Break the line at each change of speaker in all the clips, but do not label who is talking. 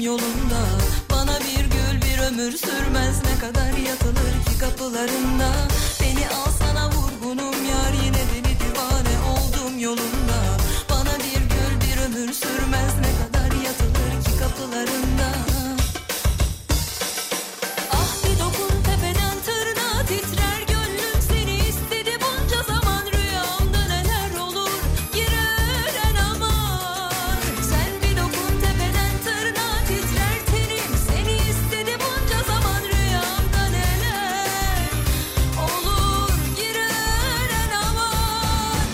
yolunda Bana bir gül bir ömür sürmez ne kadar yatılır ki kapılarında Beni alsana vurgunum yar yine deli divane oldum yolunda Bana bir gül bir ömür sürmez ne kadar yatılır ki kapılarında Ah bir dokun tepeden tırnağa titrer gönlüm seni istedi bunca zaman rüyamda neler olur girer aman Sen bir dokun tepeden tırnağa titrer tenim seni istedi bunca zaman rüyamda neler olur girer aman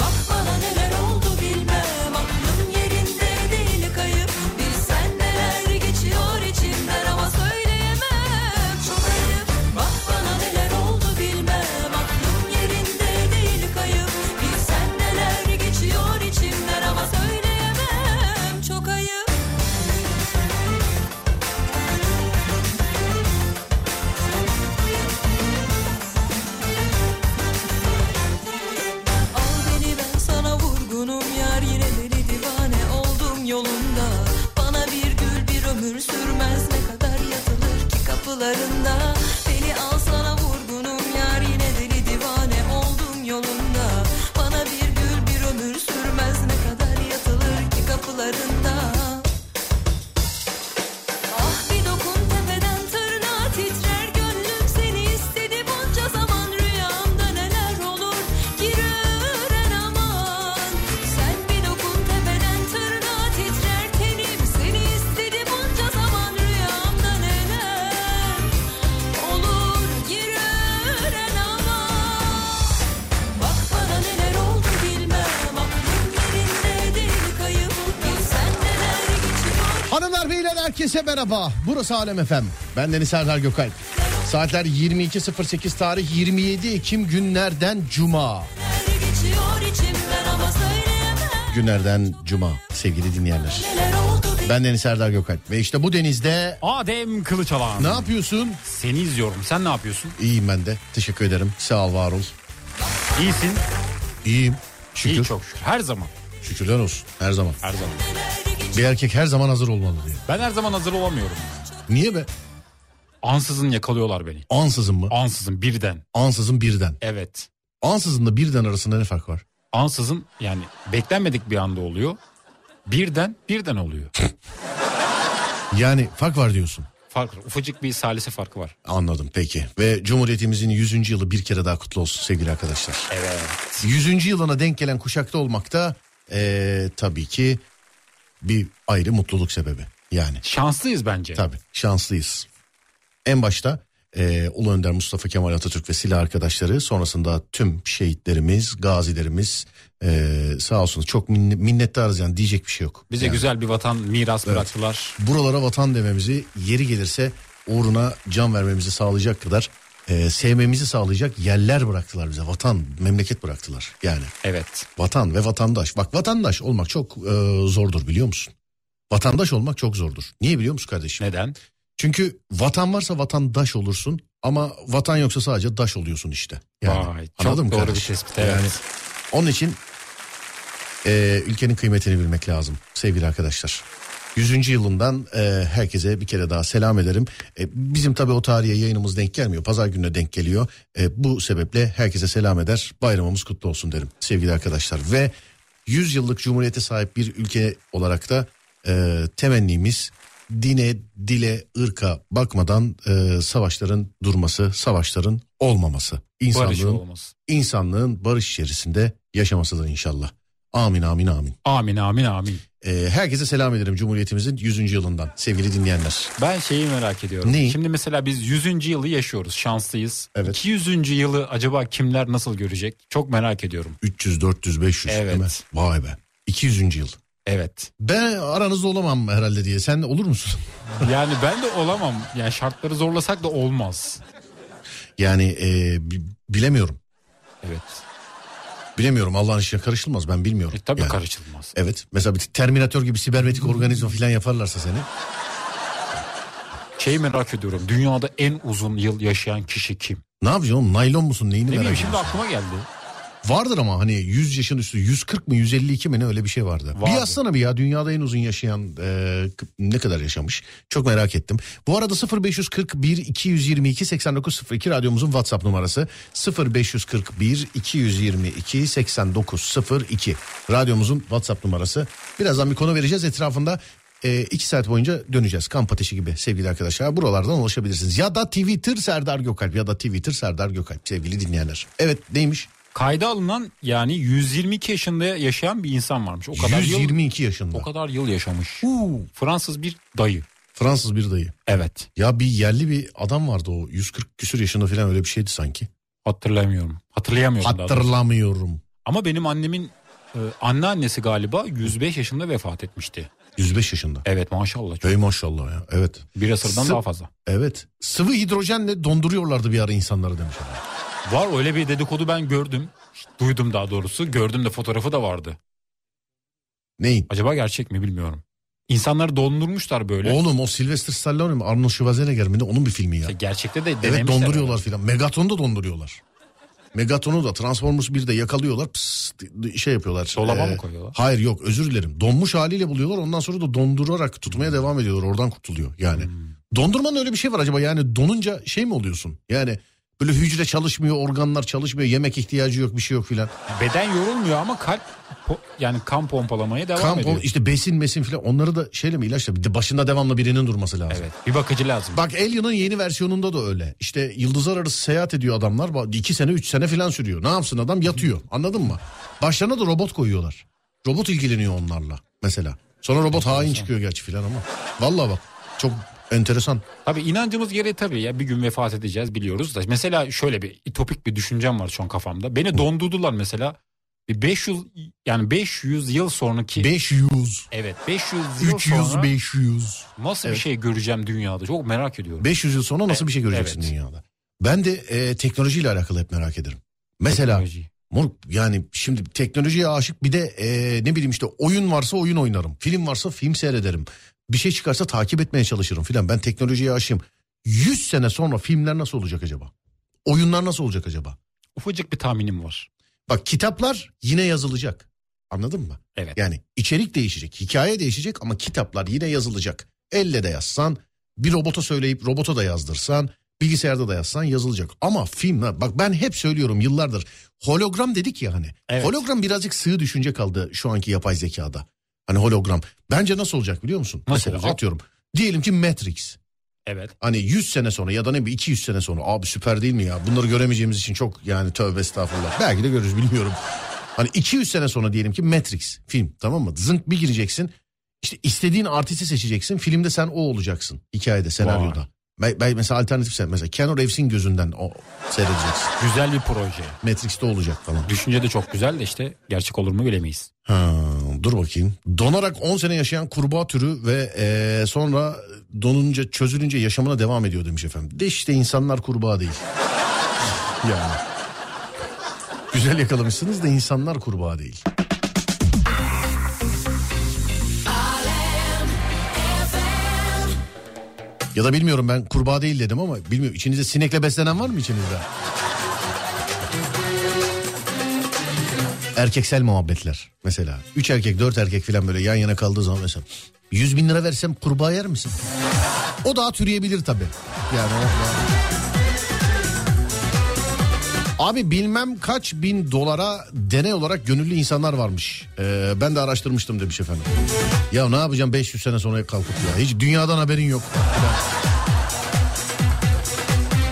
Bak bana neler oldu bilmem aklım yerinde değil kayıp Bilsen neler geçiyor içimden ama söyleyemem çok ayıp Bak bana neler oldu bilmem aklım yerinde değil kayıp Bilsen neler geçiyor içimden ama söyleyemem çok ayıp Al beni ben sana vurgunum yar yine deli divane oldum yolunda Bana bir gül bir ömür sürmez ne kadar yatılır ki kapılarında Beni al sana vurgunum yar yine deli divane oldum yolunda Bana bir gül bir ömür sürmez ne kadar yatılır ki kapılarında Ah bir dokun tepeden tırnağa titrer gönlüm seni istedi bunca zaman rüyamda neler olur girer aman Sen bir dokun tepeden tırnağa titrer tenim seni istedi bunca zaman rüyamda neler olur girer aman Bak bana neler oldu bilmem aklım yerinde değil kayıp bilsen neler geçiyor
Hanımlar beyler herkese merhaba. Burası Alem Efem. Ben Deniz Serdar Gökalp. Saatler 22.08 tarih 27 Ekim günlerden Cuma.
Neler geçiyor içimden ama söyleyemem
Günlerden Cuma sevgili dinleyenler.
Neler oldu
Ben Deniz Serdar Gökalp ve işte bu denizde
Adem Kılıçalan.
ne yapıyorsun?
Seni izliyorum. Sen ne yapıyorsun?
İyiyim ben de. Teşekkür ederim. Sağ ol var ol.
İyisin.
İyiyim. Şükür.
İyi çok şükür. Her zaman.
Şükürler olsun. Her zaman.
Her zaman.
Bir erkek her zaman hazır olmalı diyor.
Ben her zaman hazır olamıyorum.
Niye be?
Ansızın yakalıyorlar beni.
Ansızın mı?
Ansızın birden.
Ansızın birden.
Evet.
Ansızın da birden arasında ne fark var?
Ansızın yani beklenmedik bir anda oluyor. Birden birden oluyor.
Yani fark var diyorsun.
Fark var. Ufacık bir salise farkı var.
Anladım peki. Ve Cumhuriyetimizin 100. yılı bir kere daha kutlu olsun sevgili arkadaşlar.
Evet.
100. yılına denk gelen kuşakta olmak da eee, tabii ki bir ayrı mutluluk sebebi. Yani
Şanslıyız bence.
tabii şanslıyız. En başta eee Ulu Önder Mustafa Kemal Atatürk ve silah arkadaşları sonrasında tüm şehitlerimiz, gazilerimiz eee sağ olsun çok minne- minnettarız yani diyecek bir şey yok.
Bize
Yani
güzel bir vatan miras bıraktılar.
buralara vatan dememizi yeri gelirse uğruna can vermemizi sağlayacak kadar e, sevmemizi sağlayacak yerler bıraktılar bize. Vatan, memleket bıraktılar yani.
Evet.
Vatan ve vatandaş. Bak vatandaş olmak çok e, zordur biliyor musun? Vatandaş olmak çok zordur. Niye biliyor musun kardeşim?
Neden?
Çünkü vatan varsa vatandaş olursun ama vatan yoksa sadece daş oluyorsun işte. Yani,
Vay, çok
anladın mı
doğru
kardeşim?
bir tespit, evet.
onun için e, ülkenin kıymetini bilmek lazım sevgili arkadaşlar. 100. yılından e, herkese bir kere daha selam ederim. E, bizim tabii o tarihe yayınımız denk gelmiyor. Pazar gününe denk geliyor. E, bu sebeple herkese selam eder. Bayramımız kutlu olsun derim sevgili arkadaşlar. Ve 100 yıllık cumhuriyete sahip bir ülke olarak da e, temennimiz dine, dile, ırka bakmadan e, savaşların durması, savaşların olmaması.
Barış
İnsanlığın
olmaz.
insanlığın barış içerisinde yaşamasıdır inşallah. Amin amin amin.
Amin amin amin.
Ee, herkese selam ederim Cumhuriyetimizin 100. yılından sevgili dinleyenler.
Ben şeyi merak ediyorum.
Neyi?
Şimdi mesela biz 100. yılı yaşıyoruz. Şanslıyız.
Evet.
200. yılı acaba kimler nasıl görecek? Çok merak ediyorum.
300, 400, 500
Evet.
değil mi? Vay be. 200. yıl.
Evet.
Ben aranızda olamam herhalde diye. Sen olur musun?
Yani ben de olamam. Yani şartları zorlasak da olmaz.
Yani e, bi- bilemiyorum.
Evet.
Bilemiyorum. Allah'ın işine karışılmaz. Ben bilmiyorum.
E, tabii
Yani,
karışılmaz.
Evet. Mesela bir Terminator gibi sibernetik organizma falan yaparlarsa seni.
Şeyi merak ediyorum. Dünyada en uzun yıl yaşayan kişi kim?
Ne yapacaksın oğlum? Naylon musun? Neyini
Ne
merak
bileyim şimdi
ediyorsun?
aklıma geldi.
Vardır ama hani 100 yaşın üstü 140 mı 152 mi ne öyle bir şey vardı.
Vardı.
Bir yazsana bir ya dünyada en uzun yaşayan e, k- ne kadar yaşamış çok merak ettim. Bu arada 0541 222 8902 radyomuzun WhatsApp numarası 0541 222 8902 radyomuzun WhatsApp numarası. Birazdan bir konu vereceğiz etrafında. e, iki saat boyunca döneceğiz kamp ateşi gibi sevgili arkadaşlar buralardan ulaşabilirsiniz ya da Twitter Serdar Gökalp ya da Twitter Serdar Gökalp sevgili dinleyenler evet neymiş
Kayda alınan yani 122 yaşında yaşayan bir insan varmış. O kadar yıl
122 yaşında.
o kadar yıl yaşamış. Fransız bir dayı.
Fransız bir dayı.
Evet.
Ya bir yerli bir adam vardı o 140 küsür yaşında falan öyle bir şeydi sanki.
Hatırlamıyorum. Hatırlayamıyorum. daha doğrusu.
Hatırlamıyorum.
Ama benim annemin e, anneannesi galiba 105 yaşında vefat etmişti.
105 yaşında.
Evet maşallah. Çok.
Ey maşallah ya. Evet.
Bir asırdan
Sı-
daha fazla.
Evet. Sıvı hidrojenle donduruyorlardı bir ara insanları demiş. adam.
Var öyle bir dedikodu ben gördüm. Duydum daha doğrusu. Gördüm de fotoğrafı da vardı.
Neyin?
Acaba gerçek mi bilmiyorum. İnsanları dondurmuşlar böyle.
Oğlum o Sylvester Stallone mi? Arnold Schwarzenegger mi? ne? Onun bir filmi ya.
İşte gerçekte de denemişler.
Evet donduruyorlar filan. Megaton'u da donduruyorlar. Megaton'u da Transformers 1'de yakalıyorlar. Pıs, şey yapıyorlar.
Dolaba mı koyuyorlar?
Hayır yok özür dilerim. Donmuş haliyle buluyorlar. Ondan sonra da dondurarak tutmaya devam ediyorlar. Oradan kurtuluyor yani.
Hmm.
Dondurmanın öyle bir şey var acaba. Yani donunca şey mi oluyorsun? Yani böyle hücre çalışmıyor, organlar çalışmıyor, yemek ihtiyacı yok, bir şey yok filan.
Beden yorulmuyor ama kalp po- yani kan pompalamaya devam
Kamp
ediyor.
işte besin mesin filan onları da şeyle mi ilaçla bir de başında devamlı birinin durması lazım.
Evet. Bir bakıcı lazım.
Bak Alien'ın yeni versiyonunda da öyle. İşte yıldızlar arası seyahat ediyor adamlar. Ba- iki sene üç sene falan sürüyor. Ne yapsın adam yatıyor. Anladın mı? Başlarına da robot koyuyorlar. Robot ilgileniyor onlarla mesela. Sonra robot hain çıkıyor gerçi filan ama. Vallahi bak çok enteresan.
Tabii inancımız gereği tabii ya bir gün vefat edeceğiz biliyoruz da. Mesela şöyle bir topik bir düşüncem var şu an kafamda. Beni dondurdular mesela. Bir 500 yani 500 yıl sonraki
500,
evet 500 yıl
300,
sonra
500.
nasıl
Evet.
bir şey göreceğim dünyada çok merak ediyorum.
500 yıl sonra nasıl bir şey göreceksin
evet.
dünyada? Ben de e, teknolojiyle alakalı hep merak ederim. Mesela
Teknolojiyi.
Moruk yani şimdi teknolojiye aşık bir de e, ne bileyim işte oyun varsa oyun oynarım. Film varsa film seyrederim. Bir şey çıkarsa takip etmeye çalışırım filan. Ben teknolojiye aşığım. 100 sene sonra filmler nasıl olacak acaba? Oyunlar nasıl olacak acaba?
Ufacık bir tahminim var.
Bak kitaplar yine yazılacak. Anladın mı?
Evet.
Yani içerik değişecek, hikaye değişecek ama kitaplar yine yazılacak. Elle de yazsan, bir robota söyleyip robota da yazdırsan, bilgisayarda da yazsan yazılacak. Ama film bak ben hep söylüyorum yıllardır hologram dedik ya hani.
Evet.
Hologram birazcık sığ düşünce kaldı şu anki yapay zekada. Hani hologram. Bence nasıl olacak biliyor musun?
Nasıl
Mesela
olacak?
atıyorum. Diyelim ki Matrix.
Evet.
Hani 100 sene sonra ya da ne bileyim 200 sene sonra abi süper değil mi ya? Bunları göremeyeceğimiz için çok yani tövbe estağfurullah. Belki de görürüz bilmiyorum. Hani 200 sene sonra diyelim ki Matrix film tamam mı? Zınk bir gireceksin. İşte istediğin artisti seçeceksin. Filmde sen o olacaksın. Hikayede, senaryoda. Ben, ben mesela alternatif sen mesela Keanu Reeves'in gözünden o seyredeceksin.
Güzel bir proje.
Matrix'te olacak falan.
Düşünce de çok güzel de işte gerçek olur mu bilemeyiz.
Ha, dur bakayım. Donarak 10 sene yaşayan kurbağa türü ve eee, sonra donunca çözülünce yaşamına devam ediyor demiş efendim. De işte insanlar kurbağa değil. yani. Güzel yakalamışsınız da insanlar kurbağa değil. Ya da bilmiyorum ben kurbağa değil dedim ama bilmiyorum. İçinizde sinekle beslenen var mı içinizde? erkeksel muhabbetler mesela. Üç erkek dört erkek falan böyle yan yana kaldığı zaman mesela. 100 bin lira versem kurbağa yer misin? O daha türeyebilir tabii. Yani o- Abi bilmem kaç bin dolara deney olarak gönüllü insanlar varmış. Ee, ben de araştırmıştım demiş efendim. Ya ne yapacağım 500 sene sonra kalkıp ya. Hiç dünyadan haberin yok.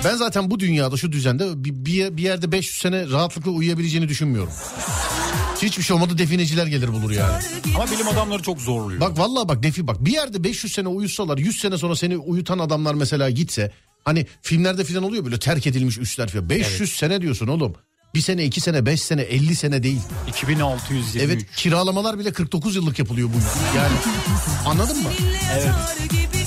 Ben zaten bu dünyada şu düzende bir, bir bir yerde 500 sene rahatlıkla uyuyabileceğini düşünmüyorum. Hiçbir şey olmadı defineciler gelir bulur yani.
Ama bilim adamları çok zorluyor.
Bak vallahi bak defi bak bir yerde 500 sene uyusalar 100 sene sonra seni uyutan adamlar mesela gitse hani filmlerde filan oluyor böyle terk edilmiş üsler filan 500 sene diyorsun oğlum. Bir sene, iki sene, beş sene, 50 sene değil.
2623.
Evet kiralamalar bile 49 yıllık yapılıyor bu. Yani anladın mı?
Evet. gibi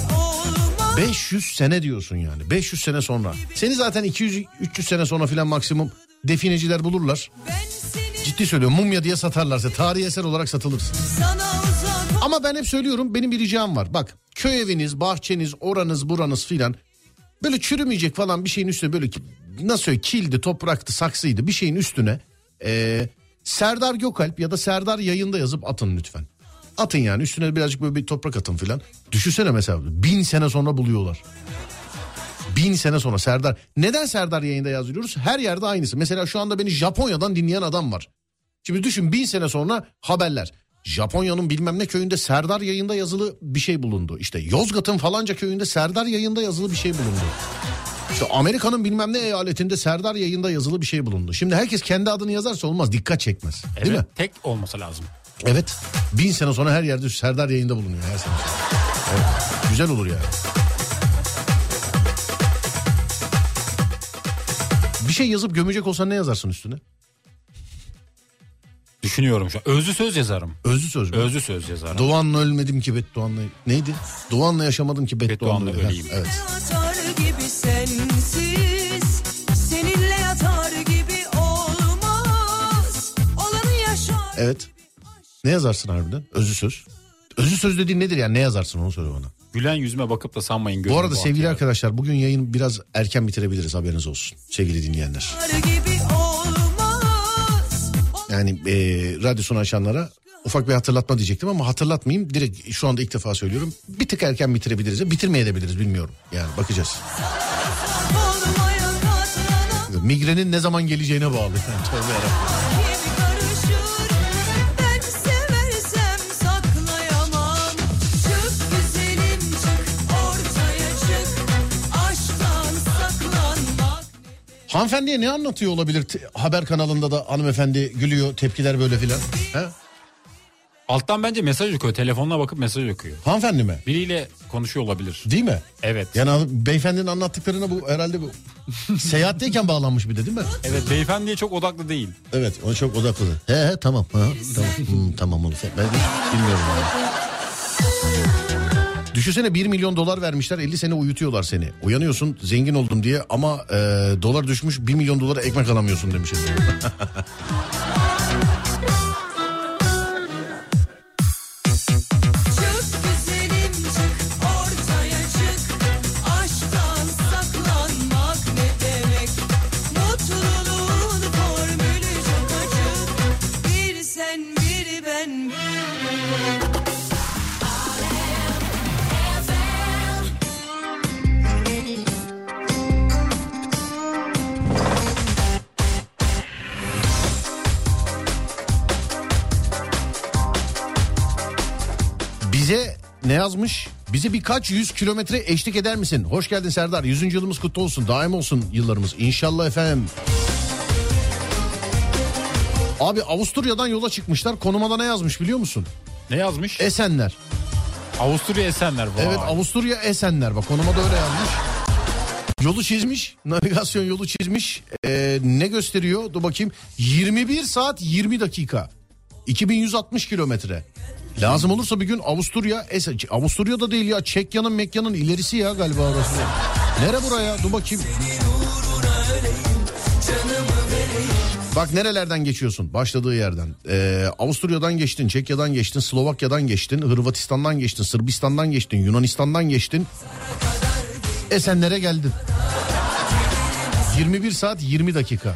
olma.
500 sene diyorsun yani. 500 sene sonra. Seni zaten 200 300 sene sonra filan maksimum defineciler bulurlar.
Ben seni
Ciddi söylüyorum mumya diye satarlarsa tarihi eser olarak satılırsın.
sana uzak
Ama ben hep söylüyorum benim bir ricam var. Bak köy eviniz, bahçeniz, oranız, buranız filan böyle çürümeyecek falan bir şeyin üstüne böyle ki- nasıl söyleyeyim kildi, topraktı, saksıydı bir şeyin üstüne Ee, Serdar Gökalp ya da Serdar yayında yazıp atın lütfen. Atın yani üstüne birazcık böyle bir toprak atın filan. Düşünsene mesela bin sene sonra buluyorlar. Bin sene sonra Serdar. Neden Serdar yayında yazıyoruz? Her yerde aynısı. Mesela şu anda beni Japonya'dan dinleyen adam var. Şimdi düşün bin sene sonra haberler. Japonya'nın bilmem ne köyünde Serdar yayında yazılı bir şey bulundu. İşte Yozgat'ın falanca köyünde Serdar yayında yazılı bir şey bulundu. İşte Amerika'nın bilmem ne eyaletinde Serdar yayında yazılı bir şey bulundu. Şimdi herkes kendi adını yazarsa olmaz dikkat çekmez. Değil mi?
Evet, Tek olması lazım.
Evet. Bin sene sonra her yerde Serdar yayında bulunuyor her sene. Evet, Güzel olur yani. Bir şey yazıp gömecek olsan ne yazarsın üstüne?
Düşünüyorum şu an. Özlü söz yazarım.
Özlü söz mü?
Özlü söz yazarım.
Doğanla ölmedim ki Beddoğan'la... Neydi? Doğan'la yaşamadım ki Beddoğan'la.
Beddoğan'la
öyle. Ha,
öleyim.
Evet.
Atar gibi sensiz, seninle yatar gibi olmaz. Olanı yaşar.
Evet. Ne yazarsın harbiden? Özlü söz. Özlü söz dediğin nedir yani? Ne yazarsın onu söyle bana.
Gülen yüzüme bakıp da sanmayın.
Bu
gözüm
arada sevgili
akıyor.
arkadaşlar bugün yayın biraz erken bitirebiliriz haberiniz olsun. Sevgili dinleyenler.
Yatar gibi olmaz.
Yani e, radyosunu açanlara ufak bir hatırlatma diyecektim ama hatırlatmayayım. Direkt şu anda ilk defa söylüyorum. Bir tık erken bitirebiliriz. Bitirmeyebiliriz bilmiyorum. Yani bakacağız.
Olmayan hatırına
Migrenin ne zaman geleceğine bağlı. Tövbe yarabbim.
gibi karışır. Ben seversem saklayamam. Çık güzelim çık, ortaya çık. Aşktan saklanmak.
Hanımefendiye ne anlatıyor olabilir? Te- haber kanalında da hanımefendi gülüyor. Tepkiler böyle filan. He?
Alttan bence mesaj okuyor. Telefonuna bakıp mesaj okuyor.
Hanımefendi mi?
Biriyle konuşuyor olabilir.
Değil mi?
Evet.
Yani hanım- beyefendinin anlattıklarına bu herhalde bu. Seyahatteyken bağlanmış bir de değil mi?
Evet beyefendiye çok odaklı değil.
Evet o çok odaklı. He he tamam. Ha, tamam Hmm, tamam olur. Ben de bilmiyorum. Yani. Düşünsene 1 milyon dolar vermişler 50 sene uyutuyorlar seni. Uyanıyorsun zengin oldum diye ama e, dolar düşmüş 1 milyon dolara ekmek alamıyorsun demiş.
Çık güzelim çık, ortaya çık. Aşktan saklanmak ne demek? Mutluluğun formülü çok açık. Bir sen biri ben.
Bize ne yazmış? Bize birkaç yüz kilometre eşlik eder misin? Hoş geldin Serdar. Yüzüncü yılımız kutlu olsun. Daim olsun yıllarımız. İnşallah efendim. Abi Avusturya'dan yola çıkmışlar. Konumada ne yazmış biliyor musun?
Ne yazmış?
Esenler.
Avusturya Esenler. Vay.
Evet Avusturya Esenler bak konuma da öyle yazmış. Yolu çizmiş. Navigasyon yolu çizmiş. Ee, ne gösteriyor? Dur bakayım. 21 saat 20 dakika. 2160 kilometre. Lazım olursa bir gün Avusturya, Esen, Avusturya da değil ya Çekya'nın Mekya'nın ilerisi ya galiba orası. Nere buraya? Dur bakayım. Bak nerelerden geçiyorsun? Başladığı yerden. Ee, Avusturya'dan geçtin, Çekya'dan geçtin, Slovakya'dan geçtin, Hırvatistan'dan geçtin, Sırbistan'dan geçtin, Yunanistan'dan geçtin. Esenlere geldin. 21 saat 20 dakika.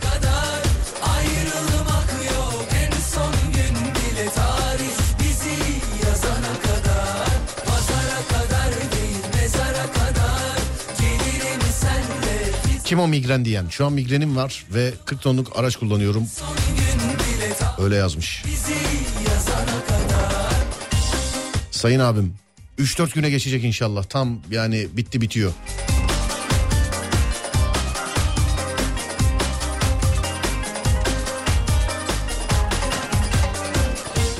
Ayrılmak yok en son gün bile tarih bizi yazana kadar Pazara kadar değil mezara kadar Gelirim senle biz
Kim o migren diyen? Şu an migrenim var ve 40 tonluk araç kullanıyorum.
son gün bile tarih
Öyle yazmış.
bizi yazana kadar
Sayın abim 3-4 güne geçecek inşallah. Tam yani bitti bitiyor.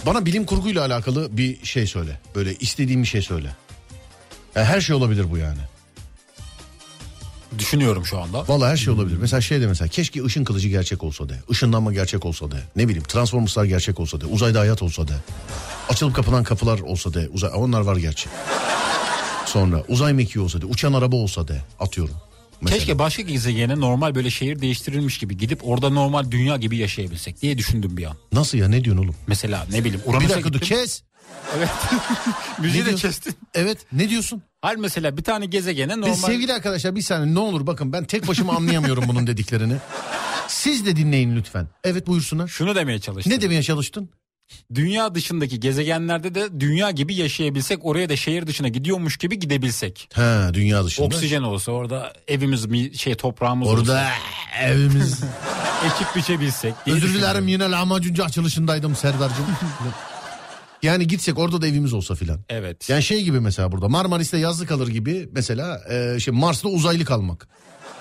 Bana bilim kurguyla alakalı bir şey söyle. Böyle istediğim bir şey söyle. Ya her şey olabilir bu yani.
Düşünüyorum şu anda.
Vallahi her şey olabilir. Mesela şey de mesela keşke ışın kılıcı gerçek olsa de. Işınlanma gerçek olsa de. Ne bileyim Transformers'lar gerçek olsa de. Uzayda hayat olsa de. Açılıp kapanan kapılar olsa de. Uzay, onlar var gerçi. Sonra uzay mekiği olsa de. Uçan araba olsa de. Atıyorum. Mesela.
Keşke başka gezegene normal böyle şehir değiştirilmiş gibi gidip orada normal dünya gibi yaşayabilsek diye düşündüm bir an.
Nasıl ya ne diyorsun oğlum?
Mesela ne bileyim
bir
Uranüs'e
dakika dur
gittim.
kes.
Evet. Müziği
Ne
de
diyorsun?
kestin.
Evet ne diyorsun?
Hayır mesela bir tane gezegene normal...
Biz sevgili arkadaşlar bir saniye ne olur bakın ben tek başıma anlayamıyorum bunun dediklerini. Siz de dinleyin lütfen. Evet buyursunlar.
Şunu demeye çalıştım.
Ne demeye çalıştın?
Dünya dışındaki gezegenlerde de dünya gibi yaşayabilsek oraya da şehir dışına gidiyormuş gibi gidebilsek.
Ha dünya dışında.
Oksijen olsa orada evimiz mi şey toprağımız olsa,
Orada evimiz.
ekip biçebilsek. diye
Özür
düşünüyorum.
dilerim yine lahmacuncu açılışındaydım Serdar'cığım. yani gitsek orada da evimiz olsa filan.
Evet.
Yani şey gibi mesela burada Marmaris'te yazlı kalır gibi mesela e, şey Mars'ta uzaylı kalmak.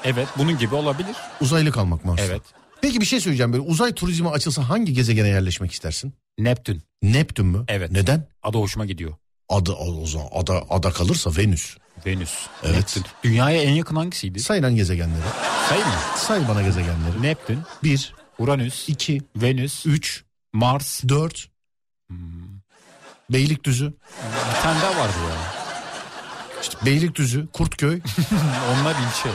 Evet bunun gibi olabilir.
Uzaylı kalmak Mars'ta.
Evet.
Peki bir şey söyleyeceğim böyle uzay turizmi açılsa hangi gezegene yerleşmek istersin?
Neptün.
Neptün mü?
Evet.
Neden?
Adı hoşuma gidiyor.
Ada, o zaman ada, ada kalırsa Venüs.
Venüs.
Evet.
Neptün. Dünyaya en yakın hangisiydi?
Say lan gezegenleri.
Sayın mı?
Say bana gezegenleri.
Neptün,
1,
Uranüs,
2,
Venüs,
3,
Mars.
4. Beylikdüzü.
Bir tane daha vardı ya.
İşte Beylikdüzü, Kurtköy.
Onlar ilçe.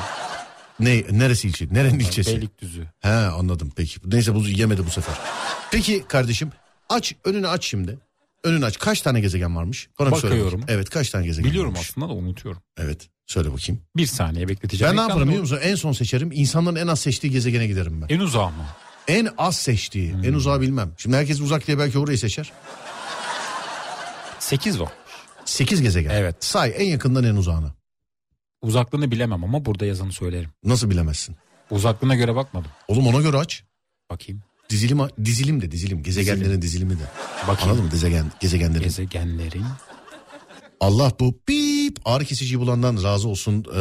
ne, neresi ilçe? Nerenin ilçesi?
Beylikdüzü.
He anladım peki. Neyse bu yemedi bu sefer. Peki kardeşim aç önünü aç şimdi. Önünü aç. Kaç tane gezegen varmış? Bana bir söyle bakayım.
Bakıyorum.
Evet kaç tane gezegen
Biliyorum
varmış?
aslında da unutuyorum.
Evet söyle bakayım.
Bir saniye bekleteceğim.
Ben ne yaparım
Ekranda
biliyor musun? En son seçerim. İnsanların en az seçtiği gezegene giderim ben.
En uzağı mı?
En az seçtiği.
Hmm.
En uzağı bilmem. Şimdi herkes uzak diye belki orayı seçer.
8 var.
8 gezegen.
Evet.
Say en yakından en uzağına.
Uzaklığını bilemem ama burada yazanı söylerim.
Nasıl bilemezsin?
Uzaklığına göre bakmadım.
Oğlum ona göre aç.
Bakayım.
Dizilim, dizilim de dizilim. Gezegenlerin dizilimi de.
Bakayım.
Anladın mı? Gezegen, gezegenlerin.
Gezegenlerin.
Allah bu bip ağrı kesiciyi bulandan razı olsun. Ee,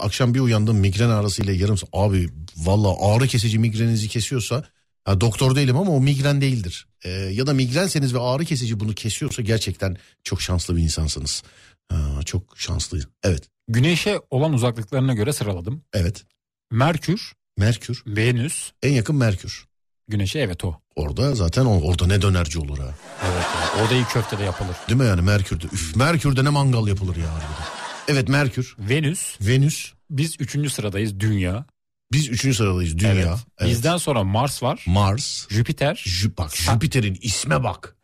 akşam bir uyandım migren ağrısıyla yarım sa- Abi valla ağrı kesici migrenizi kesiyorsa ha, doktor değilim ama o migren değildir. Ee, ya da migrenseniz ve ağrı kesici bunu kesiyorsa gerçekten çok şanslı bir insansınız. Ha, çok şanslı. Evet.
Güneşe olan uzaklıklarına göre sıraladım.
Evet.
Merkür,
Merkür.
Venüs,
En yakın Merkür.
Güneş'e evet o.
Orada zaten o- orada ne dönerci olur ha.
Evet. ya. Orada iyi köfte de yapılır.
Değil mi yani Merkür'de? Üf Merkür'de ne mangal yapılır ya harbiden. Evet Merkür.
Venüs,
Venüs.
biz üçüncü sıradayız dünya.
Biz üçüncü sıradayız dünya.
Evet.
Evet.
Bizden sonra Mars var.
Mars.
Jüpiter.
Jü- bak Jüpiter'in isme bak.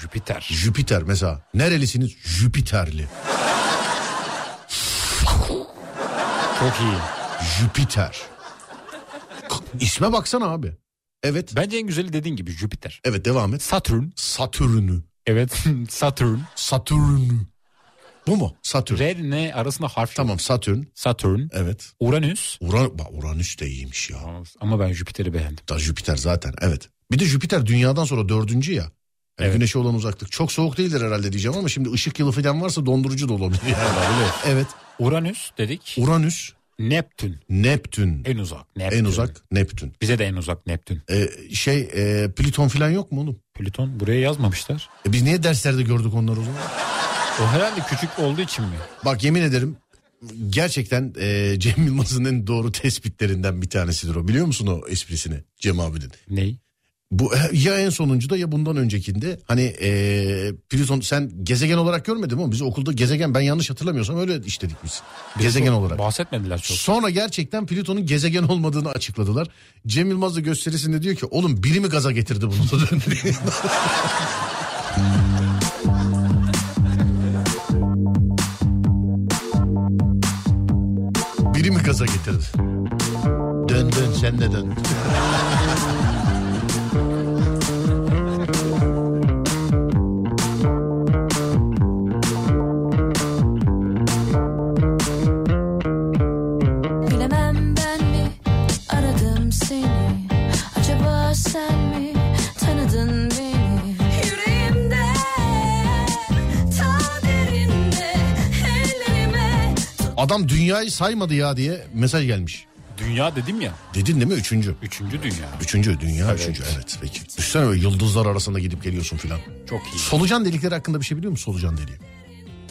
Jüpiter.
Jüpiter mesela. Nerelisiniz? Jüpiterli.
Çok iyi.
Jüpiter. K- İsme baksana abi. Evet.
Bence en güzeli dediğin gibi Jüpiter.
Evet devam et.
Satürn.
Satürn'ü.
Evet Satürn.
Satürn'ü. Bu mu? Satürn.
R ile arasında harf yok.
tamam Satürn.
Satürn.
Evet.
Uranüs.
Uran bak, Uranüs de iyiymiş ya.
Ama ben Jüpiter'i beğendim.
Da Jüpiter zaten evet. Bir de Jüpiter dünyadan sonra dördüncü ya. Yani
Evet.
Güneşe olan uzaklık. Çok soğuk değildir herhalde diyeceğim ama şimdi ışık yılı falan varsa dondurucu da olabilir. Yani. evet.
Uranüs dedik.
Uranüs,
Neptün.
Neptün.
En uzak. Neptün.
En uzak Neptün.
Bize de en uzak Neptün.
Ee, şey e, Plüton falan yok mu oğlum?
Plüton buraya yazmamışlar.
E, biz niye derslerde gördük onları o zaman?
O herhalde küçük olduğu için mi?
Bak yemin ederim gerçekten e, Cem Yılmaz'ın en doğru tespitlerinden bir tanesidir o. Biliyor musun o esprisini Cem abinin?
Ney?
Bu ya en sonuncuda ya bundan öncekinde hani e, Plüton sen gezegen olarak görmedin mi? oğlum? Biz okulda gezegen ben yanlış hatırlamıyorsam öyle işledik biz. Gezegen olarak.
Bahsetmediler çok.
Sonra gerçekten Plüton'un gezegen olmadığını açıkladılar. Cem Yılmaz da gösterisinde diyor ki oğlum biri mi gaza getirdi bunu? biri mi gaza getirdi? Dön dön sen de dön.
Bilemem ben mi aradım seni Acaba sen mi tanıdın beni Yüreğimde ta derinde ellerime
Adam dünyayı saymadı ya diye mesaj gelmiş.
Dünya dedim ya.
Dedin değil mi üçüncü?
Üçüncü dünya.
Üçüncü dünya üçüncü evet peki. Düşünsene böyle yıldızlar arasında gidip geliyorsun filan.
Çok iyi.
Solucan delikleri hakkında bir şey biliyor musun solucan deliği?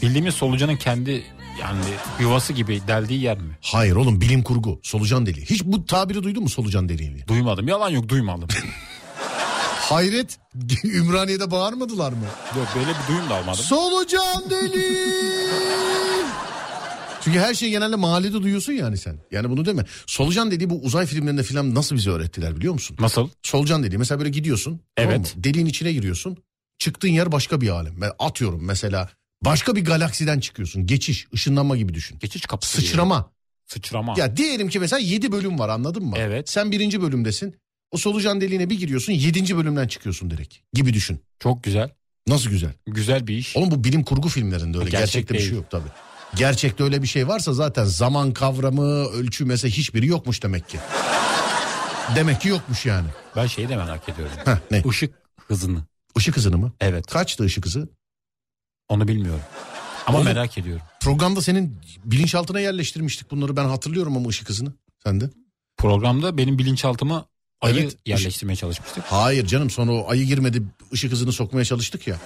Bildiğimiz solucanın kendi yani yuvası gibi deldiği yer mi?
Hayır oğlum bilim kurgu solucan deliği. Hiç bu tabiri duydun mu solucan deliği diye?
Duymadım. Yalan yok duymadım.
Hayret Ümraniye'de bağırmadılar mı?
yok böyle bir duyum da almadım.
Solucan deliği. Çünkü her şeyi genelde mahallede duyuyorsun yani sen. Yani bunu deme. Solucan deliği bu uzay filmlerinde filan nasıl bize öğrettiler biliyor musun?
Nasıl?
Solucan deliği mesela böyle gidiyorsun.
Evet.
mı? Deliğin içine giriyorsun. Çıktığın yer başka bir alem. Ben atıyorum mesela başka bir galaksiden çıkıyorsun. Geçiş, ışınlanma gibi düşün.
Geçiş kapısı. diyelim.
Sıçrama.
Sıçrama.
Ya diyelim ki mesela 7 bölüm var anladın mı?
Evet.
Sen birinci bölümdesin. O solucan deliğine bir giriyorsun 7. bölümden çıkıyorsun direkt gibi düşün.
Çok güzel.
Nasıl güzel.
Güzel bir iş.
Oğlum bu bilim kurgu filmlerinde öyle.
Gerçek
Gerçekte bir
değil.
şey yok tabii. Gerçekte öyle bir şey varsa zaten zaman kavramı, ölçü mesela hiçbiri yokmuş demek ki. demek ki yokmuş yani.
Ben şeyi de merak ediyorum.
Heh, ne?
Işık hızını.
Işık hızını mı?
Evet.
Kaçtı ışık hızı?
Onu bilmiyorum. Ama
Oğlum-
merak ediyorum.
Programda senin bilinçaltına yerleştirmiştik bunları. Ben hatırlıyorum ama ışık hızını. Sen de?
Programda benim bilinçaltıma ayı
Evet, ışık-
yerleştirmeye çalışmıştık.
Hayır canım sonra o ayı girmedi ışık hızını sokmaya çalıştık ya.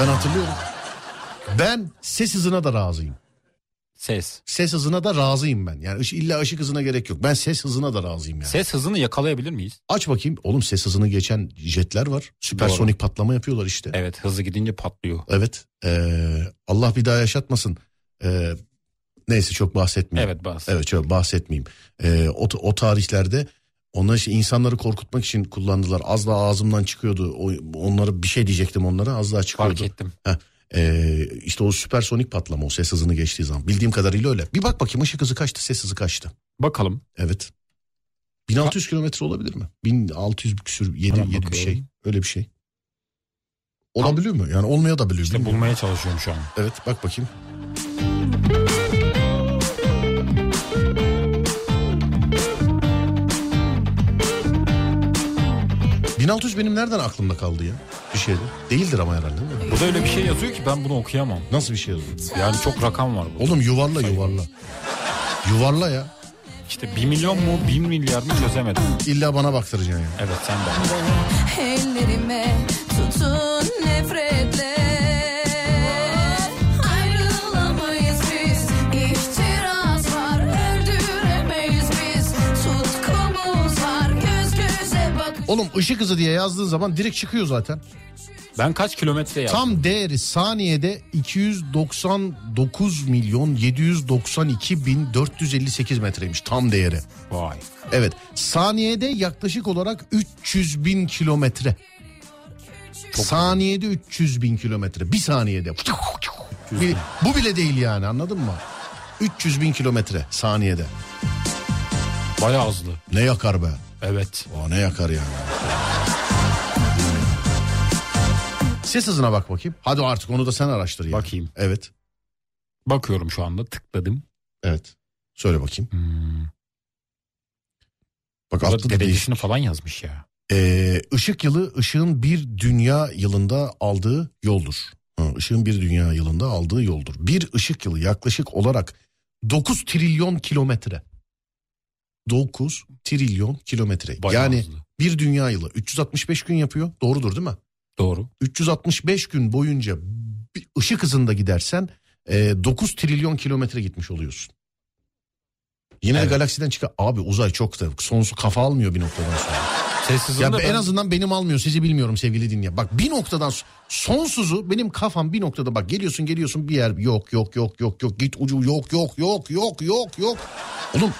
Ben hatırlıyorum. Ben ses hızına da razıyım.
Ses.
Ses hızına da razıyım ben. Yani ış- illa ışık hızına gerek yok. Ben ses hızına da razıyım yani.
Ses hızını yakalayabilir miyiz?
Aç bakayım. Oğlum ses hızını geçen jetler var. Süpersonik patlama yapıyorlar işte. Evet.
Evet hızlı gidince patlıyor.
Ee, Allah bir daha yaşatmasın. Ee, neyse çok bahsetmeyeyim.
Evet bas.
Evet çok bahsetmeyeyim. Ee, o, o tarihlerde onlar işte insanları korkutmak için kullandılar. Az daha ağzımdan çıkıyordu. O, onlara bir şey diyecektim onlara az daha
Fark
çıkıyordu.
ettim.
Ee, işte o süpersonik patlama o ses hızını geçtiği zaman. Bildiğim kadarıyla öyle. Bir bak bakayım ışık hızı kaçtı ses hızı kaçtı.
Bakalım.
Evet. 1600 kilometre olabilir mi? 1600 küsür 7,
Hemen
bir şey.
bakıyorum.
Öyle bir şey. Olabiliyor mu? Yani olmaya da biliyor.
İşte
bilmiyorum.
bulmaya çalışıyorum şu an.
Evet bak bakayım. ...1600 benim nereden aklımda kaldı ya? Bir şeydi. Değildir ama herhalde değil mi?
Burada öyle bir şey yazıyor ki ben bunu okuyamam.
Nasıl bir şey yazıyor?
Yani çok rakam var bu.
Oğlum yuvarla yuvarla. Yuvarla ya.
İşte 1 milyon mu 1 milyar mı çözemedim.
İlla bana baktıracaksın ya.
Evet sen de.
Ellerime tutun nefretle Ayrılamayız biz İftiraz var öldüremeyiz biz Tutkumuz var göz göze bak
Oğlum ışık hızı diye yazdığın zaman direkt çıkıyor zaten.
Ben kaç kilometre yaptım?
Tam değeri saniyede 299 milyon 792 bin 458 metreymiş tam değeri.
Vay.
Evet saniyede yaklaşık olarak 300 bin kilometre. saniyede 300 bin kilometre bir saniyede. Bir- bu bile değil yani anladın mı? 300 bin kilometre saniyede.
Bayağı hızlı.
Ne yakar be?
Evet.
O ne yakar yani? Ses hızına bak bakayım. Hadi artık onu da sen araştır yani.
Bakayım.
Evet.
Bakıyorum şu anda tıkladım.
Evet. Söyle bakayım.
Hmm.
Bak
Burada
altta da değişik.
derecesini falan yazmış ya.
Ee, ışık yılı ışığın bir dünya yılında aldığı yoldur. Ha, ışığın bir dünya yılında aldığı yoldur. Bir ışık yılı yaklaşık olarak 9 trilyon kilometre. 9 trilyon kilometre.
Bayağı
yani
hızlı.
bir dünya yılı 365 gün yapıyor. Doğrudur değil mi?
Doğru.
365 gün boyunca bir ışık hızında gidersen e, 9 trilyon kilometre gitmiş oluyorsun. Yine
Evet.
de galaksiden çıkar. Abi uzay çok da sonsuz kafa almıyor bir noktadan sonra.
Ses hızında
ya
ben,
en azından benim almıyor sizi bilmiyorum sevgili dinleyen. Bak bir noktadan so- sonsuzu benim kafam bir noktada bak geliyorsun geliyorsun bir yer yok yok yok yok yok git ucu yok yok yok yok yok yok. Oğlum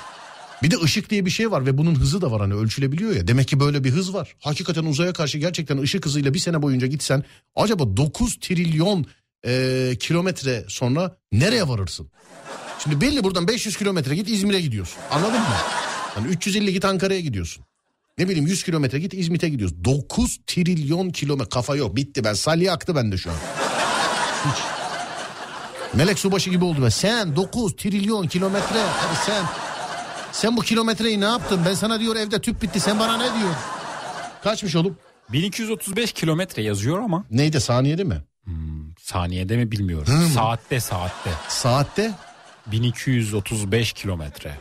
bir de ışık diye bir şey var ve bunun hızı da var hani ölçülebiliyor ya. Demek ki böyle bir hız var. Hakikaten uzaya karşı gerçekten ışık hızıyla bir sene boyunca gitsen acaba 9 trilyon eee, kilometre sonra nereye varırsın? Şimdi belli buradan 500 kilometre git İzmir'e gidiyorsun. Anladın mı? Hani 350 git Ankara'ya gidiyorsun. Ne bileyim 100 kilometre git İzmit'e gidiyoruz. 9 trilyon kilometre kafa yok bitti ben salya aktı bende şu an. Hiç. Melek Subaşı gibi oldu ben. Sen 9 trilyon kilometre Hadi sen sen bu kilometreyi ne yaptın? Ben sana diyor evde tüp bitti sen bana ne diyor? Kaçmış oğlum?
1235 kilometre yazıyor ama
Neydi saniyede mi?
saniyede mi bilmiyorum.
Hı.
Saatte saatte.
Saatte?
1235 kilometre.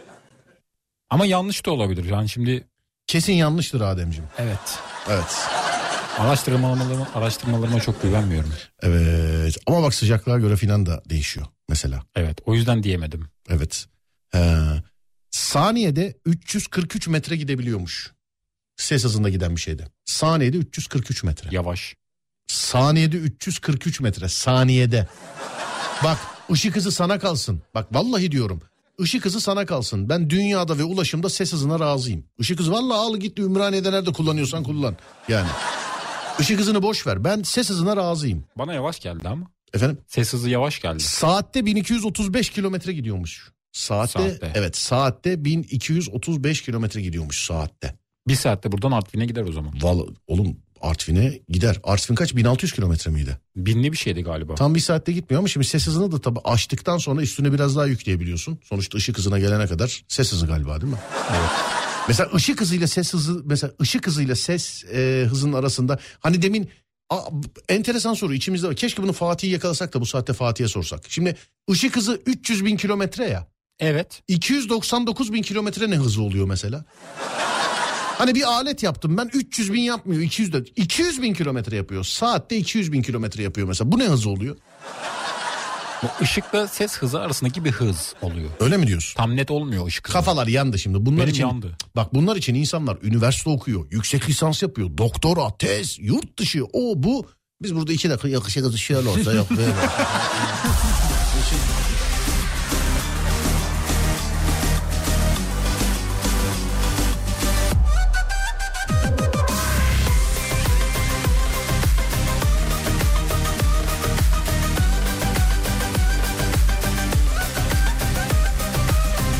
Ama yanlış da olabilir. Yani şimdi
Kesin yanlıştır Ademciğim.
evet.
Evet.
Araştırmalarıma, araştırmalarıma çok güvenmiyorum.
Evet. Ama bak sıcaklığa göre filan da değişiyor mesela.
Evet o yüzden diyemedim.
Evet. Ee, saniyede 343 metre gidebiliyormuş. Ses hızında giden bir şeydi. Saniyede 343 metre.
Yavaş.
Saniyede 343 metre. Saniyede. Bak ışık hızı sana kalsın. Bak vallahi diyorum. Işık hızı sana kalsın. Ben dünyada ve ulaşımda ses hızına razıyım. Işık hızı vallahi al git Ümraniye'de nerede kullanıyorsan kullan. Yani. Işık hızını boş ver. Ben ses hızına razıyım.
Bana yavaş geldi ama.
Efendim?
Ses hızı yavaş geldi.
Saatte 1235 kilometre gidiyormuş. Saatte,
Saatte.
evet saatte 1235 kilometre gidiyormuş saatte.
Bir saatte buradan Artvin'e gider o zaman.
Vallahi oğlum Artvin'e gider. Artvin kaç? 1600 kilometre miydi?
Binli bir şeydi galiba.
Tam bir saatte gitmiyor ama şimdi ses hızını da tabii açtıktan sonra üstüne biraz daha yükleyebiliyorsun. Sonuçta ışık hızına gelene kadar ses hızı galiba değil mi? Evet. Mesela ışık hızıyla ses hızı mesela ışık hızıyla ses e, hızının arasında hani demin a, enteresan soru içimizde var. Keşke bunu Fatih'i yakalasak da bu saatte Fatih'e sorsak. Şimdi ışık hızı 300 bin kilometre ya.
Evet.
299 bin kilometre ne hızı oluyor mesela? Hani bir alet yaptım ben 300 bin yapmıyor 200 de 200 bin kilometre yapıyor saatte 200 bin kilometre yapıyor mesela bu ne hızı oluyor
Bu ışıkla ses hızı arasındaki bir hız oluyor.
öyle mi diyorsun?
Tam net olmuyor ışık hızı.
Kafalar yandı şimdi bunlar
Benim
için
yandı.
bak bunlar için insanlar üniversite okuyor yüksek lisans yapıyor doktora tez yurt dışı o bu biz burada iki dakika yakışa kızı şöyle olsa yok böyle.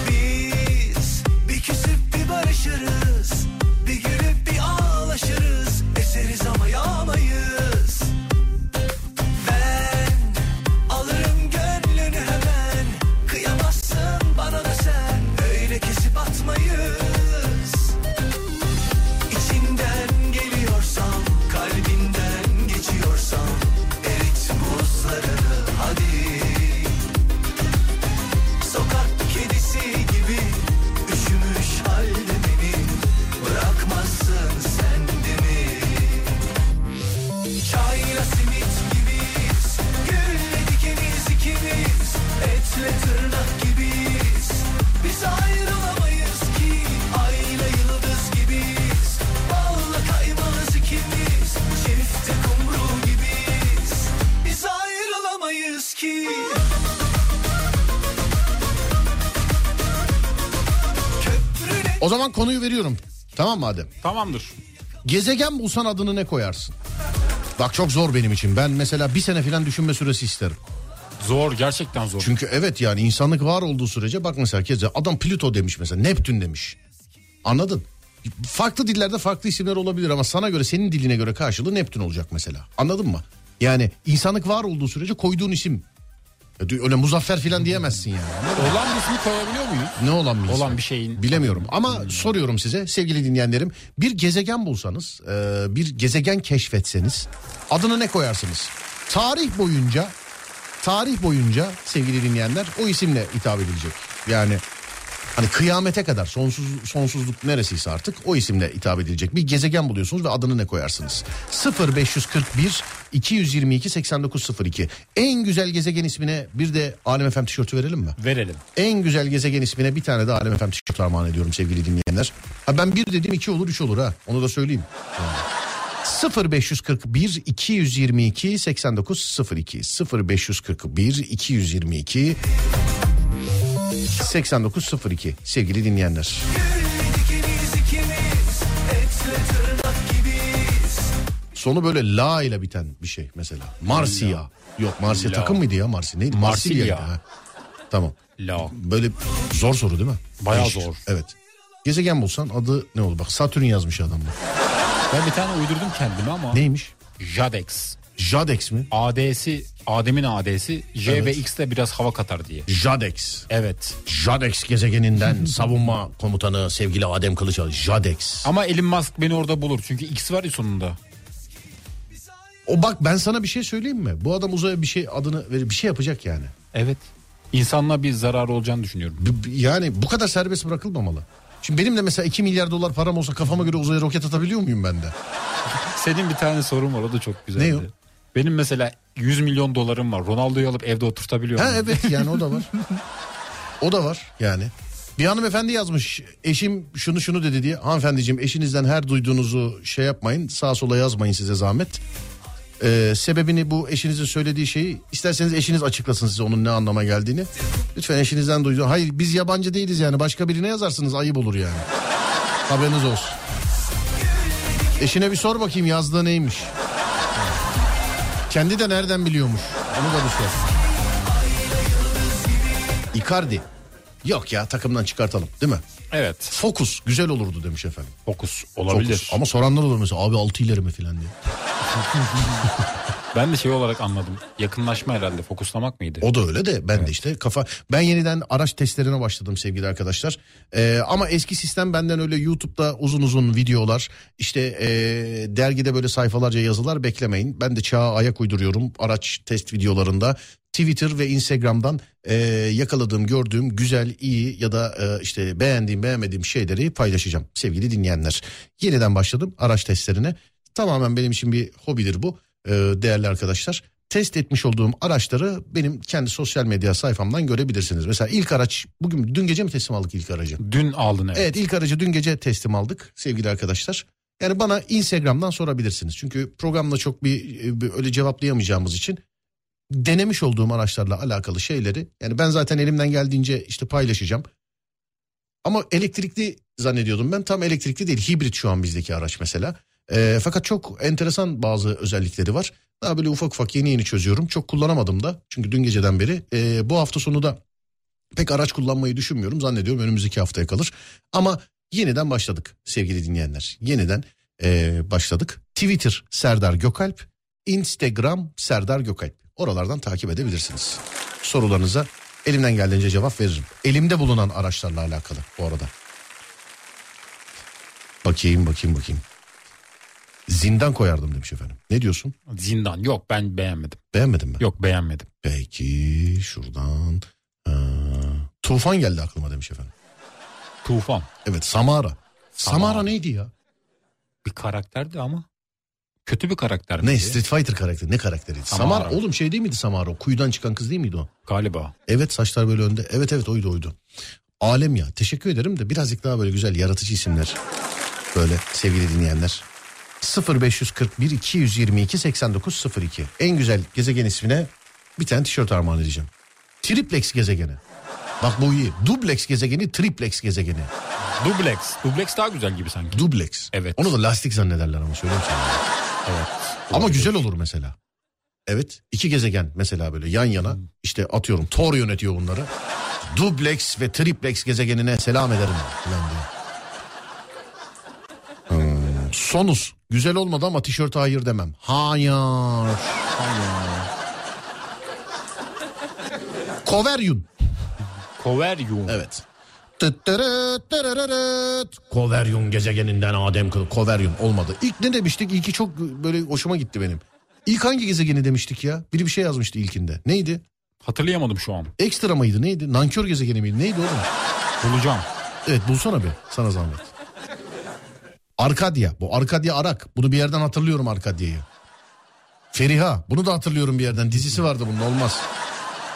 Biz bir küsüp bir barışırız, bir gülüp bir ağlaşırız, eseriz ama yağmayız. Ben alırım gönlünü hemen, kıyamazsın bana da sen, öyle kesip atmayız. İçinden geliyorsam, kalbinden geçiyorsam, erit buzlarını hadi. Sokak kedisi gibi üşümüş halde beni bırakmazsın sen de mi? Çayla simit gibiyiz, gülle dikeniz ikimiz, etle tırnak gibiyiz. Biz ayrılamayız ki ayla yıldız gibiyiz, balla kaymağız ikimiz, çifte kumru gibiyiz. Biz ayrılamayız ki.
o zaman konuyu veriyorum tamam mı Adem?
Tamamdır.
Gezegen bulsan adını ne koyarsın? Bak çok zor benim için. Ben mesela bir sene falan düşünme süresi isterim.
Zor gerçekten zor.
Çünkü evet yani insanlık var olduğu sürece bak mesela keza adam Plüto demiş mesela Neptün demiş. Anladın? Farklı dillerde farklı isimler olabilir ama sana göre senin diline göre karşılığı Neptün olacak mesela. Anladın mı? Yani insanlık var olduğu sürece koyduğun isim. Öyle muzaffer falan diyemezsin yani.
Olan ismi koyabiliyor muyuz?
Ne olan bir isim?
Olan bir şeyin. Hmm.
Bilemiyorum ama soruyorum size sevgili dinleyenlerim. Bir gezegen bulsanız, e, bir gezegen keşfetseniz adını ne koyarsınız? Tarih boyunca, tarih boyunca sevgili dinleyenler o isimle hitap edilecek. Yani hani kıyamete kadar sonsuz sonsuzluk neresiyse artık o isimle hitap edilecek. Bir gezegen buluyorsunuz ve adını ne koyarsınız? 0541 222 8902. En güzel gezegen ismine bir de Alem Efem tişörtü verelim mi?
Verelim.
En güzel gezegen ismine bir tane de Alem Efem tişört armağan ediyorum sevgili dinleyenler. Ha ben bir dedim iki olur üç olur ha onu da söyleyeyim. Yani. 0541 222 8902 0541 222 8902 sevgili dinleyenler. Sonu böyle la ile biten bir şey mesela. Marsiya. Yok Marsiya
La.
takım mıydı ya Marsiya neydi?
Marsilya.
Marsilya'ydı ha. Tamam.
La.
Böyle zor soru değil mi?
Bayağı
Değişik.
zor.
Evet. Gezegen bulsan adı ne olur? Bak Satürn yazmış adam bu.
Ben bir tane uydurdum kendime ama.
Neymiş?
Jadex.
Jadex mi?
AD'si, Adem'in AD'si J
Evet.
ve X'te biraz hava katar diye.
Jadex.
Evet.
Jadex gezegeninden savunma komutanı sevgili Adem Kılıçal. Jadex.
Ama Elon Musk beni orada bulur. Çünkü X var ya sonunda.
O bak ben sana bir şey söyleyeyim mi? Bu adam uzaya bir şey adını verip bir şey yapacak yani.
Evet. İnsanlığa bir zararı olacağını düşünüyorum.
B- b- yani bu kadar serbest bırakılmamalı. Şimdi benim de mesela 2 milyar dolar param olsa kafama göre uzaya roket atabiliyor muyum ben de?
Senin bir tane sorun var o da çok güzeldi.
Ne o?
Benim mesela 100 milyon dolarım var. Ronaldo'yu alıp evde oturtabiliyor
Ha
muyum?
evet yani o da var. O da var yani. Bir hanımefendi yazmış eşim şunu şunu dedi diye. Hanımefendiciğim eşinizden her duyduğunuzu şey yapmayın sağa sola yazmayın size zahmet. Ee, sebebini bu eşinizin söylediği şeyi isterseniz eşiniz açıklasın size onun ne anlama geldiğini. Lütfen eşinizden duyduğu. Hayır biz yabancı değiliz yani başka birine yazarsınız ayıp olur yani. Haberiniz olsun. Eşine bir sor bakayım yazdığı neymiş. Kendi de nereden biliyormuş onu da bir sor. Icardi. Yok ya takımdan çıkartalım değil mi?
Evet.
Fokus güzel olurdu demiş efendim.
Fokus
Fokus.
olabilir.
Ama soranlar olur mesela abi altı ileri mi filan diye.
Ben de şey olarak anladım. Yakınlaşma herhalde. Fokuslamak mıydı?
O da öyle de ben de işte kafa ben yeniden araç testlerine başladım sevgili arkadaşlar. Ee, ama eski sistem benden öyle YouTube'da uzun uzun videolar işte ee, dergide böyle sayfalarca yazılar beklemeyin. Ben de çağa ayak uyduruyorum araç test videolarında. Twitter ve Instagram'dan ee, yakaladığım, gördüğüm güzel, iyi ya da ee, işte beğendiğim, beğenmediğim şeyleri paylaşacağım sevgili dinleyenler. Yeniden başladım araç testlerine. Tamamen benim için bir hobidir bu ee, değerli arkadaşlar test etmiş olduğum araçları benim kendi sosyal medya sayfamdan görebilirsiniz. Mesela ilk araç bugün dün gece mi teslim aldık ilk aracı?
Dün aldın evet.
Evet ilk aracı dün gece teslim aldık sevgili arkadaşlar. Yani bana Instagram'dan sorabilirsiniz. Çünkü programda çok bir, bir öyle cevaplayamayacağımız için denemiş olduğum araçlarla alakalı şeyleri yani ben zaten elimden geldiğince işte paylaşacağım. Ama elektrikli zannediyordum ben tam elektrikli değil hibrit şu an bizdeki araç mesela. Ee, fakat çok enteresan bazı özellikleri var. Daha böyle ufak ufak yeni yeni çözüyorum. Çok kullanamadım da çünkü dün geceden beri. Ee, bu hafta sonu da pek araç kullanmayı düşünmüyorum. Zannediyorum önümüzdeki haftaya kalır. Ama yeniden başladık sevgili dinleyenler. Yeniden ee, başladık. Twitter Serdar Gökalp, Instagram Serdar Gökalp. Oralardan takip edebilirsiniz. Sorularınıza elimden geldiğince cevap veririm. Elimde bulunan araçlarla alakalı bu arada. Bakayım bakayım bakayım. Zindan koyardım demiş efendim. Ne diyorsun?
Zindan. Yok ben beğenmedim.
Beğenmedin mi?
Yok beğenmedim.
Peki şuradan. Ha, tufan geldi aklıma demiş efendim.
Tufan.
Evet Samara. Samara,
Samara.
neydi ya?
Bir karakterdi ama. Kötü bir karakter miydi?
Ne Street Fighter karakteri ne karakteriydi? Samara.
Samara.
oğlum şey değil miydi Samara? O kuyudan çıkan kız değil miydi o?
Galiba.
Evet saçlar böyle önde. Evet evet oydu oydu. Alem ya teşekkür ederim de birazcık daha böyle güzel yaratıcı isimler. Böyle sevgili dinleyenler. 0541 222 8902 en güzel gezegen ismine bir tane tişört armağan edeceğim. Triplex gezegeni. Bak bu iyi. Duplex gezegeni, triplex gezegeni.
Dublex. Dublex daha güzel gibi sanki.
Duplex.
Evet.
Onu da lastik zannederler ama söyleyeyim sana.
Evet.
Ama güzel olur mesela. Evet iki gezegen mesela böyle yan yana
Hmm.
işte atıyorum Thor yönetiyor bunları. Duplex ve triplex gezegenine selam ederim falan diye. Hmm, Sonus güzel olmadı ama tişörte hayır demem. Hayır. Hayır. Koveryum.
Koveryum.
Evet. Tıttırıt, tırırırıt. Koveryum gezegeninden Adem kılı. Koveryum olmadı. İlk ne demiştik? İlki çok böyle hoşuma gitti benim. İlk hangi gezegeni demiştik ya? Biri bir şey yazmıştı ilkinde. Neydi?
Hatırlayamadım şu an.
Ekstra mıydı neydi? Nankör gezegeni miydi? Neydi oğlum?
Bulacağım.
Evet bulsana bir. Sana zahmet. Arkadya. Bu Arkadya Arak. Bunu bir yerden hatırlıyorum Arkadya'yı. Feriha. Bunu da hatırlıyorum bir yerden. Dizisi vardı bunun olmaz.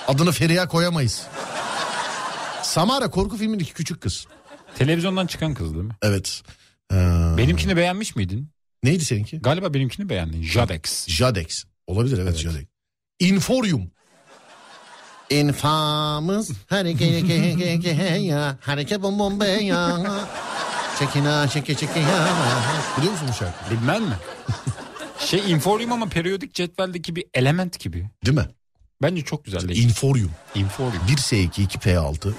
Adını Feriha koyamayız. Samara korku filmindeki küçük kız.
Televizyondan çıkan kız değil mi?
Evet. Ee,
Benimkini beğenmiş miydin?
neydi seninki?
Galiba benimkini beğendin. Jadex.
Jadex. Olabilir evet, Jadex. Inforium. Infamous hareket ya hareket bom bombe ya çekina çeke çeke ya biliyor musun bu şarkı?
Bilmem mi? şey Inforium ama periyodik cetveldeki bir element gibi.
Değil mi?
Bence çok güzel değil.
Inforium.
Inforium.
1S2 2P6 üç.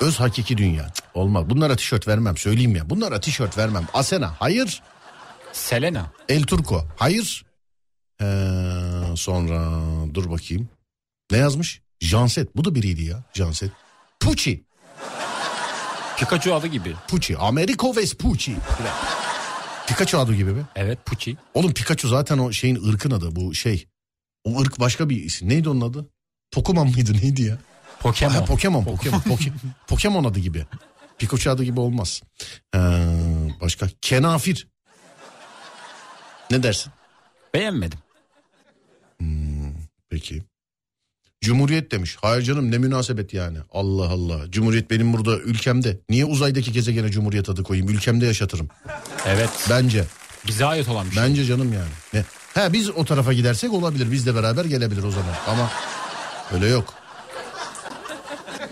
öz hakiki dünya. Cık, Olmaz. Bunlara tişört vermem söyleyeyim ya. Bunlara tişört vermem. Asena hayır.
Selena.
El Turco hayır. Ee, sonra dur bakayım. Ne yazmış? Janset. Bu da biriydi ya. Janset. Pucci.
Pikachu adı gibi.
Pucci. Americo Vespucci. Filan. Pikachu adı gibi mi?
Evet Pucci.
Oğlum Pikachu zaten o şeyin ırkın adı bu şey. O ırk başka bir isim. Neydi onun adı? Pokemon mıydı neydi ya?
Oh, Pokemon.
Ha, Pokemon. Pokemon. Poke- Pokemon adı gibi. Pikachu adı gibi olmaz. Ee, başka. Kenafir. Ne dersin?
Beğenmedim.
Peki. Cumhuriyet demiş. Hayır canım ne münasebet yani. Allah Allah. Cumhuriyet benim burada ülkemde. Niye uzaydaki gezegene Cumhuriyet adı koyayım? Ülkemde yaşatırım.
Evet.
Bence.
Bize ait olan bir şey.
Bence canım yani. Ne? Ha biz o tarafa gidersek olabilir. Biz de beraber gelebilir o zaman. Ama öyle yok.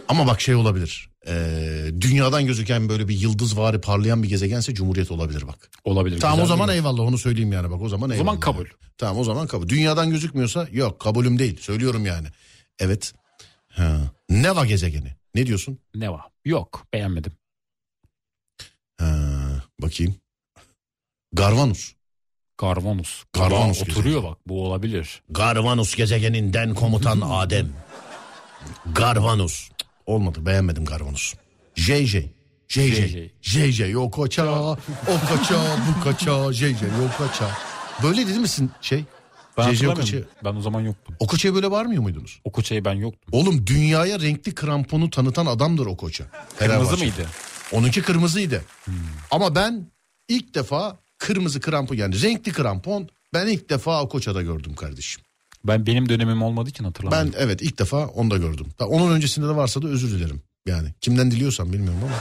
Ama bak şey olabilir. Ee, dünyadan gözüken böyle bir yıldız vari parlayan bir gezegense Cumhuriyet olabilir bak.
Olabilir.
Tamam o
güzel
zaman
değil mi?
eyvallah onu söyleyeyim yani bak o zaman
O
eyvallah.
zaman kabul.
Tamam o zaman kabul. Dünyadan gözükmüyorsa yok kabulüm değil. Söylüyorum yani. Evet. Ha. Neva gezegeni. Ne diyorsun?
Neva. Yok beğenmedim.
Bakayım. Garvanus.
Garvanus.
Garvanus
Garvanus oturuyor bak bu olabilir.
Garvanus gezegeninden komutan Adem. Garvanus. Olmadı beğenmedim Garvanus. JJ. JJ.
JJ.
JJ yok kaça. O kaça bu kaça. JJ yok kaça. Böyle dedi misin şey?
Ben
JJ o kaça.
hatırlamıyorum. Ben o zaman yoktum.
O koçaya böyle bağırmıyor muydunuz?
O koçayı ben yoktum.
Oğlum dünyaya renkli kramponu tanıtan adamdır o koça.
Kırmızı
Fenerbahçe.
mıydı? Hmm.
Onunki kırmızıydı. Ama ben ilk defa kırmızı krampon yani renkli krampon ben ilk defa o koçada gördüm kardeşim.
Ben benim dönemim olmadığı için hatırlamıyorum.
Ben evet ilk defa onu da gördüm. Ta- Onun öncesinde de varsa da özür dilerim. Yani kimden diliyorsam bilmiyorum ama.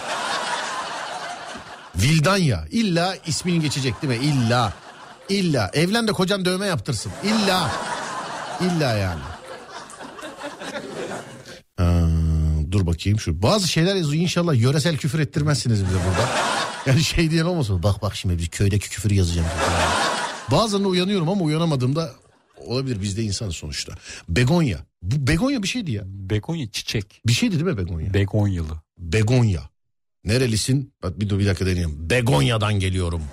Vildanya. İlla ismin geçecek değil mi? İlla. İlla. Evlen de kocan dövme yaptırsın. İlla. İlla yani. Ha, dur bakayım şu. Bazı şeyler yazıyor. İnşallah yöresel küfür ettirmezsiniz bize burada. Yani şey diyen olmasın. Bak bak şimdi biz köydeki küfür yazacağım. Bazen de uyanıyorum ama uyanamadığımda olabilir. Biz de insanız sonuçta. Begonya. Bu begonya bir şeydi ya.
Begonya çiçek.
Bir şeydi değil mi begonya?
Begonyalı.
Begonya. Nerelisin? Bak bir dur bir dakika deneyeyim. Begonya'dan geliyorum.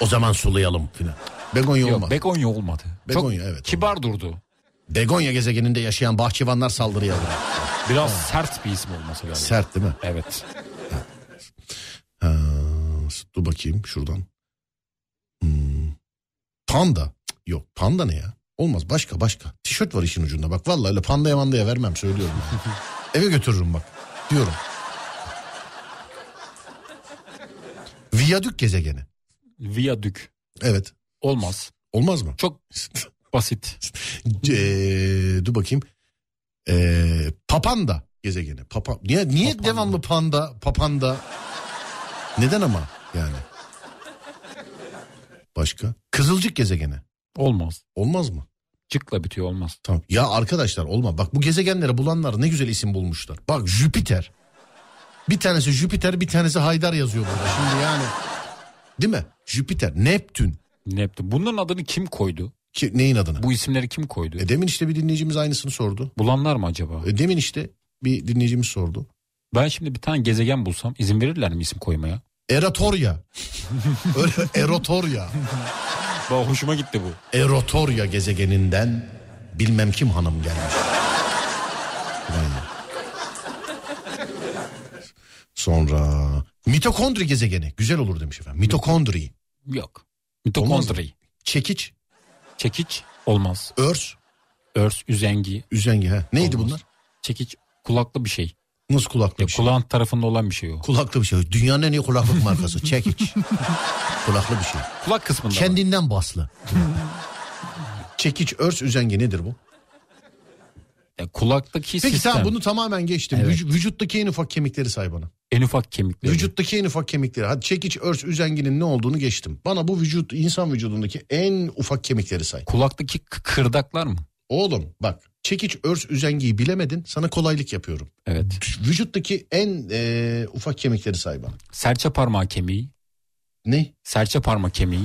O zaman sulayalım filan. Begonya
Yok
olmadı.
Begonya olmadı.
Begonya, evet,
Kibar durdu.
Begonya gezegeninde yaşayan bahçıvanlar saldırıya uğradı.
Biraz sert bir isim olması lazım.
Sert değil mi?
Evet.
Ha, Ee, dur bakayım şuradan. Hmm. Panda. Cık, Yok panda ne ya? Olmaz başka başka. Tişört var işin ucunda bak. Vallahi öyle pandaya mandaya vermem söylüyorum. yani. Eve götürürüm bak diyorum. Viyadük gezegeni.
Viyadük.
Evet.
Olmaz.
Olmaz mı?
Çok basit.
Eee, dur bakayım. Eee, papanda gezegeni. Papa, niye niye
Papanda.
devamlı panda, papanda? Neden ama yani? Başka? Kızılcık gezegeni.
Olmaz.
Olmaz mı?
Cıkla bitiyor olmaz.
Tamam. Ya arkadaşlar olma. Bak bu gezegenleri bulanlar ne güzel isim bulmuşlar. Bak Jüpiter. Bir tanesi Jüpiter, bir tanesi Haydar yazıyor burada. Şimdi yani. Değil mi? Jüpiter, Neptün.
Neptün. Bunların adını kim koydu?
Ki, neyin adına?
Bu isimleri kim koydu?
E, demin işte bir dinleyicimiz aynısını sordu.
Bulanlar mı acaba?
E, demin işte bir dinleyicimiz sordu.
Ben şimdi bir tane gezegen bulsam izin verirler mi isim koymaya?
Eratorya. Öyle Erotorya.
Bak hoşuma gitti bu.
Erotorya gezegeninden bilmem kim hanım gelmiş. Vay. Sonra mitokondri gezegeni. Güzel olur demiş efendim. Mitokondri.
Yok. Mitokondri.
Çekiç,
Çekiç olmaz.
örs,
Örs, üzengi.
üzengi. Ha. Neydi
Olmaz.
bunlar?
Çekiç kulaklı bir şey.
Nasıl kulaklı
Ya,
bir şey?
kulağın tarafında olan bir şey o.
Kulaklı bir şey. Dünyanın en iyi kulaklık markası. Çekiç. kulaklı bir şey.
Kulak kısmında. var.
Kendinden baslı. Çekiç, örs, üzengi nedir bu?
Ya, kulaktaki
Peki
sistem.
sen bunu tamamen geçtim.
Evet.
Vüc- vücuttaki en ufak kemikleri say bana.
En ufak kemikleri.
Vücuttaki en ufak kemikleri. Hadi çekiç, örs, üzenginin ne olduğunu geçtim. Bana bu vücut, insan vücudundaki en ufak kemikleri say.
Kulaktaki kı- kırdaklar mı?
Oğlum bak çekiç, örs, üzengiyi bilemedin. Sana kolaylık yapıyorum.
Evet.
Vücuttaki en e, ufak kemikleri say bana.
Serçe parmağı kemiği.
Ne?
Serçe parmak kemiği.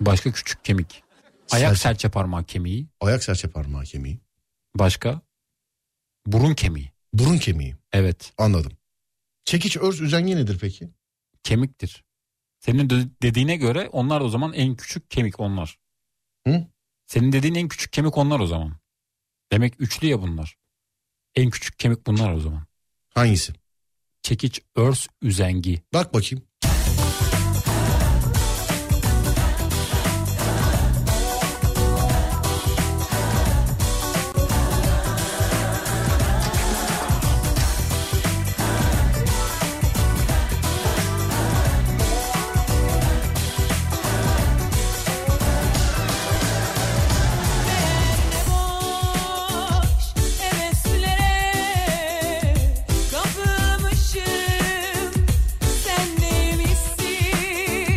Başka küçük kemik. Ayak
Serçe-
serçe, parmağı kemiği.
Ayak serçe parmağı kemiği.
Başka. Burun kemiği.
Burun kemiği.
Evet.
Anladım. Çekiç, örs, üzengi nedir peki?
Kemiktir. Senin de- dediğine göre onlar o zaman en küçük kemik onlar.
Hı?
Senin dediğin en küçük kemik onlar o zaman. Demek üçlü ya bunlar. En küçük kemik bunlar o zaman.
Hangisi?
Çekiç, örs, üzengi.
Bak bakayım.
Boş heveslere kapılmışım Sen neymişsin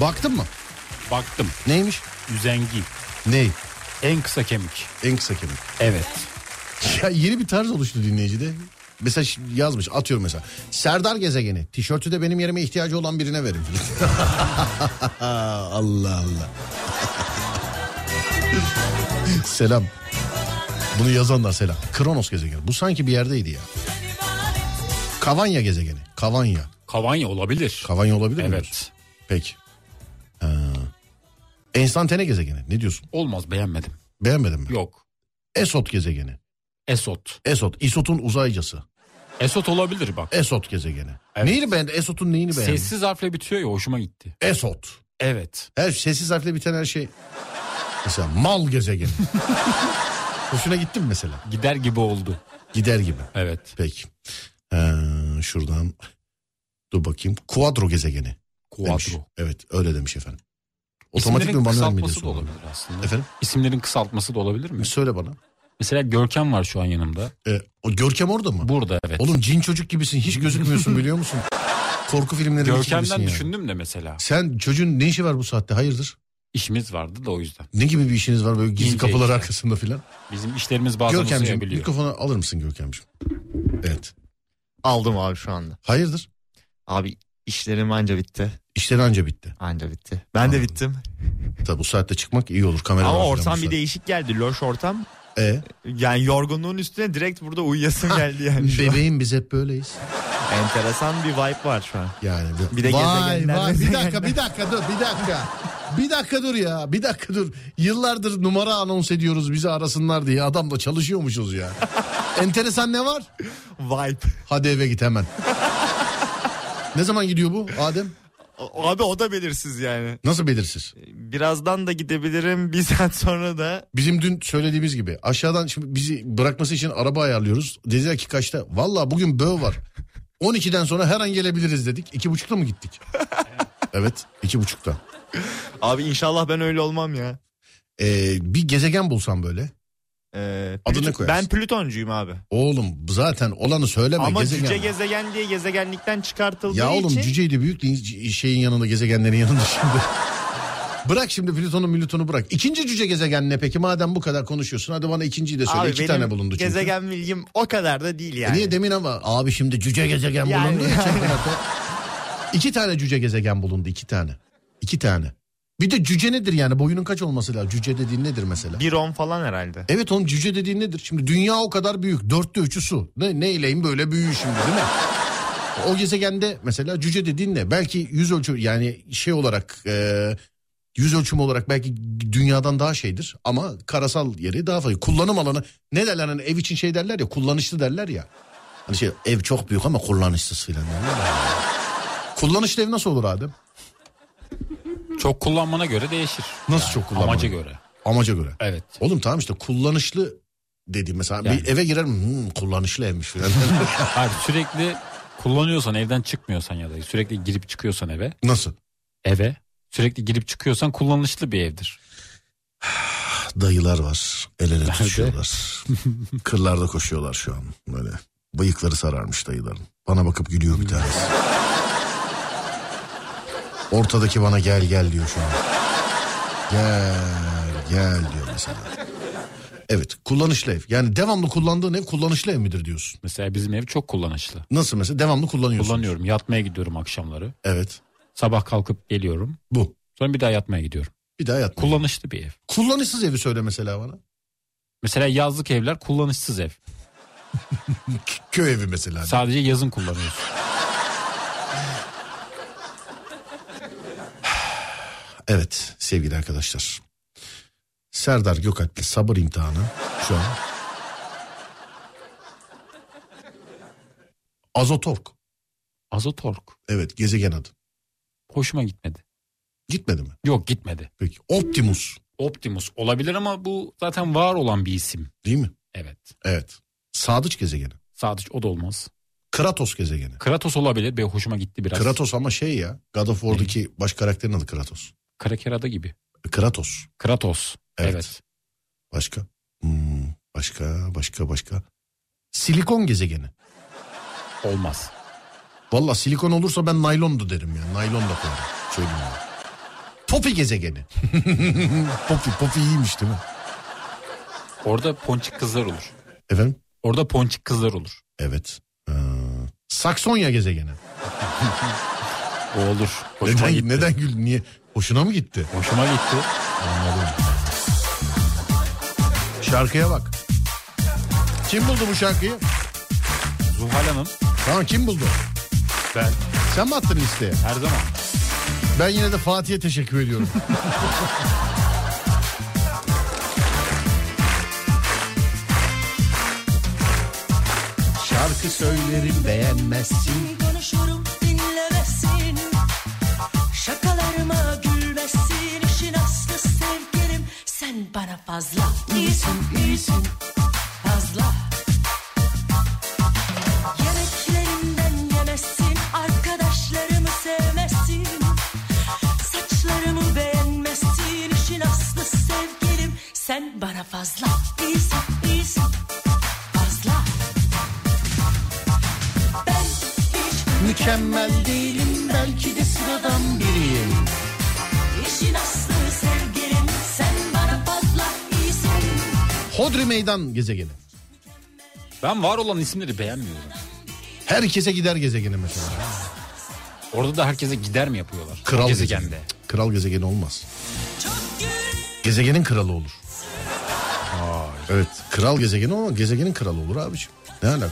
Baktın mı?
Baktım.
Neymiş?
Üzengi.
Ney?
En kısa kemik.
En kısa kemik.
Evet.
Ya yeni bir tarz oluştu dinleyicide. Mesela şi- yazmış atıyorum mesela. Serdar gezegeni. Tişörtü de benim yerime ihtiyacı olan birine verin. Allah Allah. selam. Bunu yazanlar selam. Kronos gezegeni. Bu sanki bir yerdeydi ya. Kavanya gezegeni. Kavanya.
Kavanya olabilir.
Kavanya olabilir mi?
Evet.
Peki. Ha. Enstantane gezegeni. Ne diyorsun?
Olmaz beğenmedim.
Beğenmedin mi?
Yok.
Esot gezegeni.
Esot.
Esot. Isot'un uzaycısı.
Esot olabilir bak.
Esot gezegeni.
Evet.
Neyini beğendi? Esot'un neyini beğendi?
Sessiz harfle bitiyor ya hoşuma gitti.
Esot.
Evet.
Her sessiz harfle biten her şey. Mesela mal gezegeni. Hoşuna gittin mi mesela?
Gider gibi oldu.
Gider gibi.
Evet.
Peki. Ee, şuradan dur bakayım. Kuadro gezegeni. demiş.
Quattro.
Evet öyle demiş efendim. Otomatik
İsimlerin
mi manuel mi
kısaltması da
diyorsun?
olabilir
ona?
aslında.
Efendim
İsimlerin kısaltması da olabilir mi?
söyle bana.
Mesela Görkem var şu an yanımda.
Ee, o Görkem orada mı?
Burada evet.
Oğlum cin çocuk gibisin hiç gözükmüyorsun biliyor musun? Korku filmlerindeki gibisin
Görkem'den
yani.
düşündüm de mesela.
Sen çocuğun ne işi var bu saatte hayırdır?
İşimiz vardı da o yüzden.
Ne gibi bir işiniz var böyle gizli
İnce
kapılar
işte.
arkasında filan?
Bizim işlerimiz bazen
Görkemciğim
uzayabiliyor.
mikrofonu alır mısın Görkemciğim? Evet.
Aldım abi şu anda.
Hayırdır?
Abi işlerim anca bitti.
İşleri anca bitti.
Anca bitti. Ben de
Anladım.
bittim.
Tabi bu saatte çıkmak iyi olur kamera.
Ama ortam bir değişik geldi. Loş ortam.
E,
Yani yorgunluğun üstüne direkt burada uyuyasım geldi yani. şu an.
E, bebeğim biz hep böyleyiz.
Enteresan bir vibe var şu an.
Yani
Bir de
vay
gezegenler,
vay bir dakika
gezegenler.
bir dakika dur bir dakika. Bir dakika dur ya bir dakika dur. Yıllardır numara anons ediyoruz bizi arasınlar diye adamla çalışıyormuşuz ya. Enteresan ne var?
Vibe.
Hadi eve git hemen. ne zaman gidiyor bu Adem?
O- Abi o da belirsiz yani.
Nasıl belirsiz?
Birazdan da gidebilirim. Bir saat sonra da
Bizim dün söylediğimiz gibi aşağıdan şimdi bizi bırakması için araba ayarlıyoruz. Dediler ki kaçta? Valla bugün böğ var. 12'den sonra her an gelebiliriz dedik. İki buçukta mı gittik? evet iki buçukta.
abi inşallah ben öyle olmam ya.
Ee, bir gezegen bulsam böyle.
Ee,
Adını
Plüt-
koyarsın.
ben Plütoncuyum abi.
Oğlum zaten olanı söyleme.
Ama
gezegen.
cüce gezegen diye gezegenlikten çıkartıldığı
ya oğlum
için
cüceydi büyük de şeyin yanında gezegenlerin yanında şimdi. bırak şimdi Plüton'u Plüton'u bırak. İkinci cüce gezegen ne peki? Madem bu kadar konuşuyorsun hadi bana ikinciyi de söyle.
abi
İki
benim
tane bulundu çünkü.
gezegen bilgim o kadar da değil
E
yani.
Niye demin ama abi şimdi cüce gezegen
Yani-
bulundu. ya çakmakta. İki tane cüce gezegen bulundu iki tane. İki tane. Bir de cüce nedir yani boyunun kaç olması lazım? Cüce dediğin nedir mesela?
Bir on falan herhalde.
Evet oğlum cüce dediğin nedir? Şimdi dünya o kadar büyük. Dörtte üçü su. Ne, neyleyim böyle büyüğü şimdi değil mi? O gezegende mesela cüce dediğin ne? Belki yüz ölçü yani şey olarak e, yüz ölçümü olarak belki dünyadan daha şeydir. Ama karasal yeri daha fazla. Kullanım alanı ne derler hani ev için şey derler ya kullanışlı derler ya. Hani şey ev çok büyük ama kullanışsız filan derler ya. Kullanışlı ev nasıl olur Adem?
Çok kullanmana göre değişir.
Nasıl çok kullanmana
Amaca
göre?
göre.
Amaca göre.
Evet.
Oğlum tamam işte kullanışlı dedi mesela bir
Yani.
eve girerim "Hmm, kullanışlı evmiş falan.
Hayır sürekli kullanıyorsan evden çıkmıyorsan ya da sürekli girip çıkıyorsan eve.
Nasıl?
Eve sürekli girip çıkıyorsan kullanışlı bir evdir.
Ah, Dayılar var el ele
Nerede?
tutuşuyorlar. Kırlarda koşuyorlar şu an böyle. Bıyıkları sararmış dayıların. Bana bakıp gülüyor bir tanesi. Ortadaki bana gel gel diyor şu an. Gel gel diyor mesela. Evet kullanışlı ev. Yani devamlı kullandığın ev kullanışlı ev midir diyorsun.
Mesela bizim ev çok kullanışlı.
Nasıl mesela devamlı kullanıyorsun.
Kullanıyorum. Yatmaya gidiyorum akşamları.
Evet
Sabah kalkıp geliyorum.
bu.
Sonra bir daha yatmaya gidiyorum.
Bir daha yatma.
Kullanışlı bir ev.
Kullanışsız evi söyle mesela bana.
Mesela yazlık evler kullanışsız ev.
K- köy evi mesela.
Sadece yazın kullanıyorsun.
Evet sevgili arkadaşlar. Serdar Gökalp'le sabır imtihanı şu an. Azotork.
Azotork.
Evet gezegen adı.
Hoşuma gitmedi.
Gitmedi mi?
Yok gitmedi.
Peki. Optimus
Optimus olabilir ama bu zaten var olan bir isim.
değil mi?
Evet.
Evet. Sadıç gezegeni.
Sadece o da olmaz.
Kratos gezegeni.
Kratos olabilir. Benim hoşuma gitti biraz.
Kratos ama şey ya. God of War'daki baş karakterin adı Kratos.
Krakerada gibi.
Kratos.
Kratos.
Evet.
Evet.
Başka? Hmm, başka, başka, başka. Silikon gezegeni.
Olmaz.
Valla silikon olursa ben naylondu derim ya. Naylon da koyarım. Söyleyeyim ya. Popi gezegeni. Popi, Popi iyiymiş değil mi?
Orada ponçik kızlar olur.
Efendim?
Orada ponçik kızlar olur.
Evet. Ee, Saksonya gezegeni.
O olur. Hoşuma
Neden,
gitti.
neden güldün? Niye? Hoşuna mı gitti?
Hoşuma gitti.
Şarkıya bak. Kim buldu bu şarkıyı?
Zuhal Hanım
Tamam kim buldu?
ben
Sen mi attın listeye?
her zaman.
Ben yine de Fatih'e teşekkür ediyorum. Şarkı söylerim beğenmezsin.
Konuşurum dinlemezsin Şakalarıma gülmezsin İşin aslı sevgilim Sen bana fazla iyisin iyisin Fazla Yemeklerimden yemezsin Arkadaşlarımı sevmezsin Saçlarımı beğenmezsin İşin aslı sevgilim Sen bana fazla iyisin iyisin Fazla ben hiç
Mükemmel değilim belki de sıradan biriyim.
işin aslı sevgilim sen bana fazla iyisin.
Hodri meydan gezegeni.
Ben var olan isimleri beğenmiyorum.
Herkese gider gezegeni mesela.
Orada da herkese gider mi yapıyorlar?
Kral
gezegende.
gezegeni. Kral gezegeni olmaz.
Çok gül
Gezegenin kralı olur. evet kral gezegeni ama gezegenin kralı olur abiciğim. Ne alaka?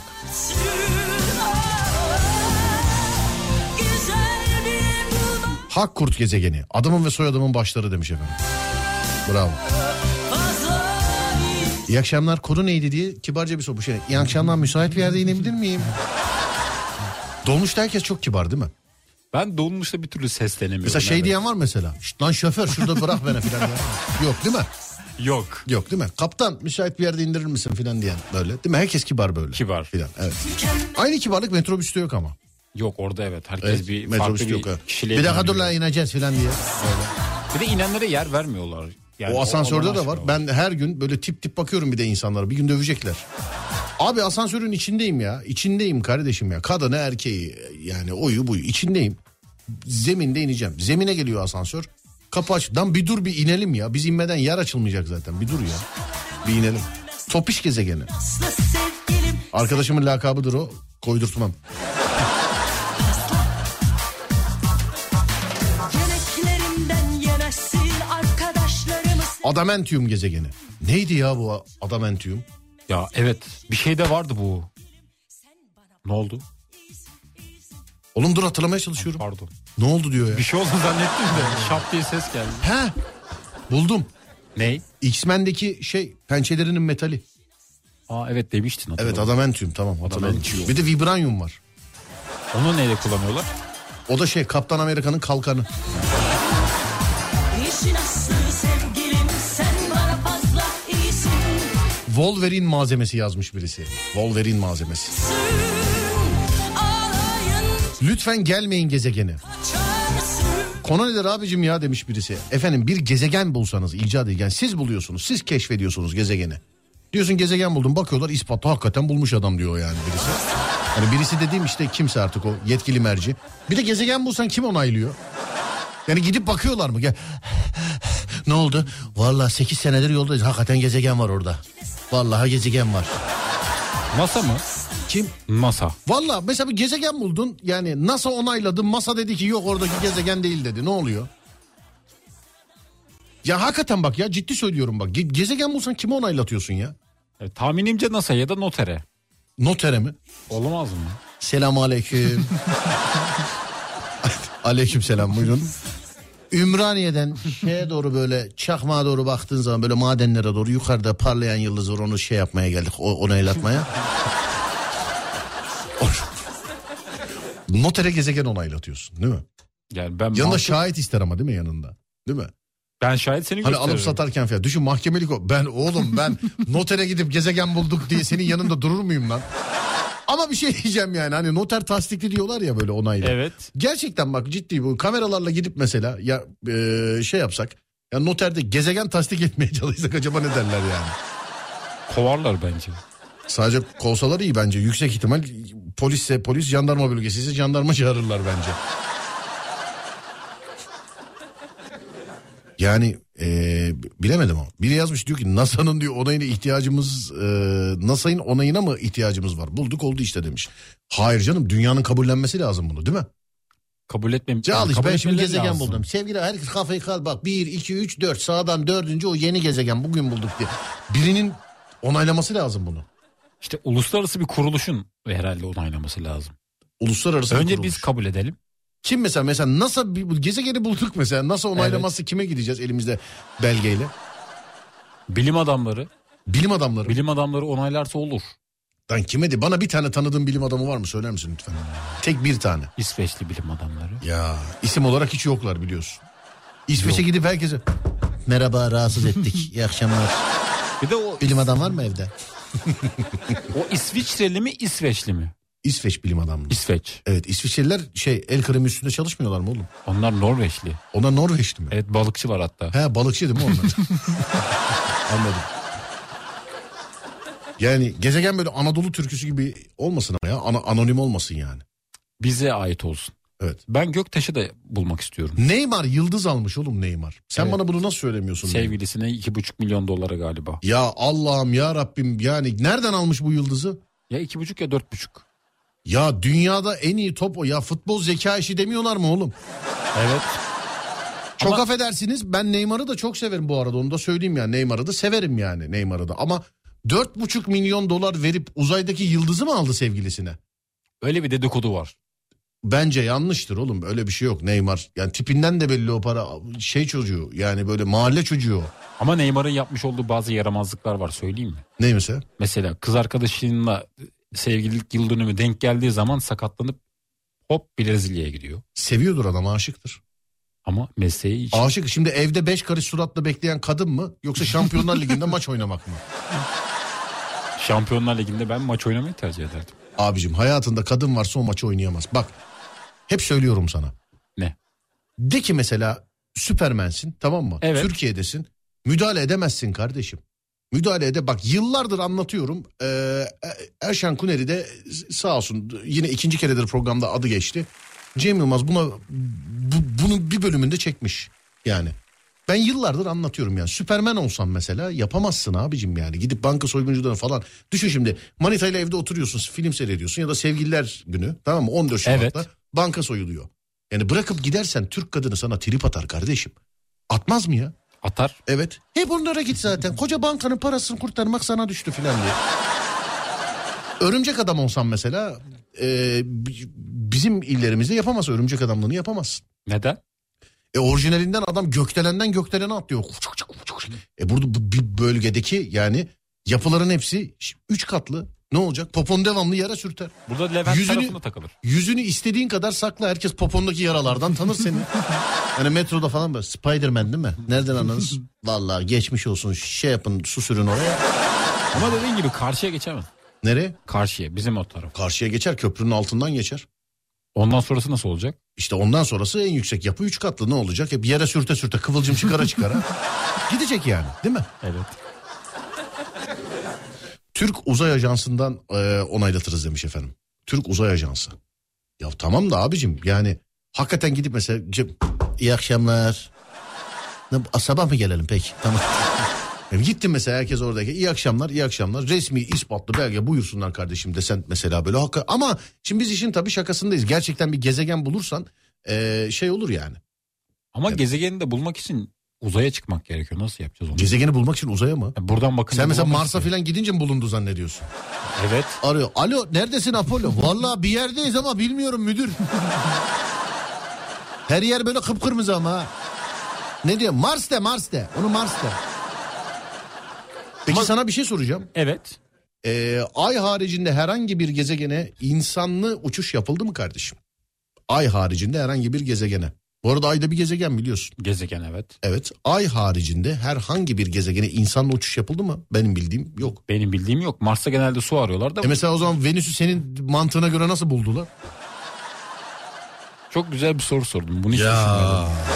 güzel bir bulma
Hak kurt gezegeni. Adamın ve soyadımın başları demiş efendim. Bravo.
fazla iyi.
İyi akşamlar konu neydi diye kibarca bir soru. Şey, iyi akşamlar müsait bir yerde inebilir miyim? Dolmuşta herkes çok kibar değil mi?
Ben dolmuşta bir türlü seslenemiyorum.
Mesela şey
evet.
diyen var mesela. "Şşt lan şoför şurada bırak beni filan. diyen. Yok değil mi?
Yok.
Yok değil mi? Kaptan müsait bir yerde indirir misin filan diyen böyle. Değil mi? Herkes kibar böyle.
Kibar.
Filan. Evet.
Mükemmel
Aynı kibarlık metrobüste yok ama.
Yok orada evet. Herkes
Evet,
bir farklı
metrobüste
bir
yok. evet.
kişiliğe
Bir dakika dur
bürünüyor.
lan ineceğiz filan diye.
Bir de inenlere yer vermiyorlar. Yani
o asansörde
ona
de var.
aşina
Ben her gün böyle tip tip bakıyorum bir de insanlara. Bir gün dövecekler. Abi asansörün içindeyim ya. İçindeyim kardeşim ya. Kadını erkeği yani oyu buyu içindeyim. Zeminde ineceğim. Zemine geliyor asansör. Kapı aç. Lan bir dur bir inelim ya. Biz inmeden yer açılmayacak zaten. Bir dur ya. Bir inelim. Topiş gezegeni.
aslı sevgilim
Arkadaşımın lakabıdır o. Koydurtmam.
yemeklerimden yemezsin arkadaşlarımı
Adamantium gezegeni. Neydi ya bu adamantium?
oluyor. Ya evet. Bir şey de vardı bu. Ne oldu?
Oğlum dur hatırlamaya çalışıyorum.
Pardon.
Ne oldu diyor ya.
Bir şey oldu zannettim de. Şap diye ses geldi.
He. Buldum.
Ney?
X-Men'deki şey pençelerinin metali.
Aa evet demiştin. hatırladım.
Evet adamantium tamam hatırladım.
Adamantium.
Bir de vibranium var.
Onu neyle kullanıyorlar?
O da şey Kaptan Amerika'nın kalkanı.
işin aslı sevgilim sen bana fazla iyisin.
Wolverine malzemesi yazmış birisi. Wolverine malzemesi.
Alayın
Lütfen gelmeyin gezegeni.
çağırsın
Konu nedir abicim ya demiş birisi. Efendim bir gezegen bulsanız icat edilgen siz buluyorsunuz. Siz keşfediyorsunuz gezegeni. Diyorsun gezegen buldum bakıyorlar ispatla hakikaten bulmuş adam diyor yani birisi. Hani birisi dediğim işte kimse artık o yetkili merci. Bir de gezegen bulsan kim onaylıyor? Yani gidip bakıyorlar mı? Gel. ne oldu? Vallahi 8 senedir yoldayız. Hakikaten gezegen var orada. Vallahi gezegen var.
Masa mı?
Kim?
Masa.
Vallahi mesela bir gezegen buldun. Yani NASA onayladı. NASA dedi ki yok oradaki gezegen değil dedi. Ne oluyor? Ya hakikaten bak ya ciddi söylüyorum bak. Ge- gezegen bulsan kime onaylatıyorsun ya?
Evet, E, tahminimce NASA ya da notere.
Notere mi?
Olamaz mı?
Selamun aleyküm. aleyküm selam buyurun. Ümraniye'den şeye doğru böyle çakmağa doğru baktığın zaman böyle madenlere doğru yukarıda parlayan yıldız var onu şey yapmaya geldik o, onaylatmaya. Notere gezegen onaylatıyorsun değil mi?
Yani ben
Yanında
mantık-
şahit ister ama değil mi yanında? Değil mi?
ben şahit seni
Hani
gösteririm.
alıp satarken falan. Düşün mahkemelik o. Ben oğlum ben notere gidip gezegen bulduk diye senin yanında durur muyum lan? Ama bir şey diyeceğim yani hani noter tasdikli diyorlar ya böyle onayla.
Evet.
Gerçekten bak ciddi bu kameralarla gidip mesela ya e, şey yapsak ya noterde gezegen tasdik etmeye çalışsak acaba ne derler yani?
Kovarlar bence.
Sadece kovsalar iyi bence yüksek ihtimal polisse polis jandarma bölgesi ise jandarma çağırırlar bence. Yani e, bilemedim ama. Biri yazmış diyor ki NASA'nın diyor onayına ihtiyacımız e, NASA'nın onayına mı ihtiyacımız var? Bulduk oldu işte demiş. Hayır canım dünyanın kabullenmesi lazım bunu değil mi?
Kabul etmem.
Al
yani
işte
kabul
ben şimdi
etmeleri
gezegen
lazım.
buldum. Sevgili herkes kafayı kal bak 1, 2, 3, 4 sağdan dördüncü o yeni gezegen bugün bulduk diye. Birinin onaylaması lazım bunu.
İşte uluslararası bir kuruluşun herhalde onaylaması lazım.
Uluslararası bir
Önce
kuruluş.
biz kabul edelim.
Kim mesela mesela NASA bir- bu gezegeni bulduk mesela NASA onaylaması kime gideceğiz elimizde belgeyle?
Bilim adamları,
Bilim adamları.
bilim adamları onaylarsa olur.
Lan kime de bana bir tane tanıdığın bilim adamı var mı söyler misin lütfen? Tek bir tane.
İsveçli bilim adamları.
Ya isim olarak hiç yoklar biliyorsun. İsveç'e gidip herkese merhaba rahatsız ettik iyi akşamlar.
Bir de o
Bilim adam var mı evde?
o İsviçreli mi, İsveçli mi?
İsveç bilim adamı.
İsveç.
Evet İsviçreliler şey el kremi üstünde çalışmıyorlar mı oğlum?
Onlar Norveçli.
Onlar Norveçli mi?
Evet balıkçı var hatta.
He balıkçı değil mi onlar? Anladım. Yani gezegen böyle Anadolu türküsü gibi olmasın ama ya. Ana, anonim olmasın yani.
Bize ait olsun.
Evet.
Ben Göktaş'ı da bulmak istiyorum.
Neymar yıldız almış oğlum Neymar. Sen
Evet.
bana bunu nasıl söylemiyorsun?
Sevgilisine iki buçuk milyon dolara galiba.
Ya Allah'ım ya Rabbim yani nereden almış bu yıldızı?
Ya iki buçuk ya dört buçuk.
Ya dünyada en iyi top o. Ya futbol zeka işi demiyorlar mı oğlum?
Evet.
Çok
Ama-
affedersiniz ben Neymar'ı da çok severim bu arada onu da söyleyeyim yani Neymar'ı da severim yani Neymar'ı da ama 4,5 milyon dolar verip uzaydaki yıldızı mı aldı sevgilisine?
Öyle bir dedikodu var.
Bence yanlıştır oğlum öyle bir şey yok Neymar yani tipinden de belli o para şey çocuğu yani böyle mahalle çocuğu o.
Ama Neymar'ın yapmış olduğu bazı yaramazlıklar var söyleyeyim mi?
Neymiş o?
Mesela kız arkadaşınla sevgililik yıl dönümü denk geldiği zaman sakatlanıp hop Brezilya'ya gidiyor.
Seviyordur adam aşıktır.
Ama mesleği için.
Aşık şimdi evde 5 karış suratla bekleyen kadın mı yoksa Şampiyonlar Ligi'nde maç oynamak mı?
Şampiyonlar Ligi'nde ben maç oynamayı tercih ederdim.
Abicim hayatında kadın varsa o maçı oynayamaz. Bak hep söylüyorum sana.
Ne?
De ki mesela Süpermensin tamam mı?
Evet.
Türkiye'desin. Müdahale edemezsin kardeşim. Müdahale ede bak yıllardır anlatıyorum. Ee, Erşen Kuneri de sağ olsun yine ikinci keredir programda adı geçti. Cem Yılmaz buna bu- bunun bir bölümünde çekmiş yani. Ben yıllardır anlatıyorum yani. Süpermen olsan mesela yapamazsın abicim yani. Gidip banka soyguncularına falan. Düşün şimdi Manita ile evde oturuyorsun film seyrediyorsun ya da sevgililer günü tamam mı 14 Şubat'ta
Evet.
banka soyuluyor. Yani bırakıp gidersen Türk kadını sana trip atar kardeşim. Atmaz mı ya?
Atar.
Evet. Hep onlara git zaten. Koca bankanın parasını kurtarmak sana düştü filan diye. Örümcek adam olsan mesela e, bi- bizim illerimizde yapamaz. Örümcek adamlığını yapamazsın.
Neden?
E orijinalinden adam gökdelenden gökdelene atlıyor. Uçuk, uçuk, uçuk, uçuk. E burada bu bir bölgedeki yani yapıların hepsi ş- üç katlı. Ne olacak? Popon devamlı yara sürter.
Burada Levent
Yüzünü-
tarafına takılır.
Yüzünü istediğin kadar sakla. Herkes popondaki yaralardan tanır seni. hani metroda falan böyle Spiderman değil mi? Nereden anladınız? Vallahi geçmiş olsun şey yapın su sürün oraya.
Ama dediğin gibi karşıya geçemez.
Nereye?
Karşıya bizim o taraf.
Karşıya geçer köprünün altından geçer.
Ondan sonrası nasıl olacak?
İşte ondan sonrası en yüksek yapı üç katlı ne olacak? Hep yere sürte sürte kıvılcım çıkara çıkara. Gidecek yani değil mi?
Evet.
Türk Uzay Ajansı'ndan e, onaylatırız demiş efendim. Türk Uzay Ajansı. Ya tamam da abicim yani hakikaten gidip mesela Cem, iyi akşamlar. Ne, a, sabah mı gelelim peki? Tamam. Ya Gittin mesela herkes oradaki iyi akşamlar iyi akşamlar resmi ispatlı belge buyursunlar kardeşim desen mesela böyle hakka ama şimdi biz işin tabii şakasındayız gerçekten bir gezegen bulursan e, şey olur yani
Ama gezegeni de bulmak için uzaya çıkmak gerekiyor. Nasıl yapacağız onu?
gezegeni bulmak için uzaya mı?
Yani buradan bakınca
Sen mesela
bulamazsın.
Mars'a falan gidince mi bulundu zannediyorsun?
Evet.
arıyor. Alo neredesin Apollo? Vallahi bir yerdeyiz ama bilmiyorum müdür. Her yer böyle kıpkırmızı ama. ha. Ne diyor? Mars de Mars de. Onu Mars de. Peki sana bir şey soracağım.
Evet.
Ee, ay haricinde herhangi bir gezegene insanlı uçuş yapıldı mı kardeşim? Ay haricinde herhangi bir gezegene. Bu arada ayda bir gezegen biliyorsun.
Gezegen evet.
Evet. Ay haricinde herhangi bir gezegene insanlı uçuş yapıldı mı? Benim bildiğim yok.
Benim bildiğim yok. Mars'ta genelde su arıyorlar da
E mesela o zaman Venüs'ü senin mantığına göre nasıl buldular?
çok güzel bir soru sordum. Bunu hiç düşünmedim.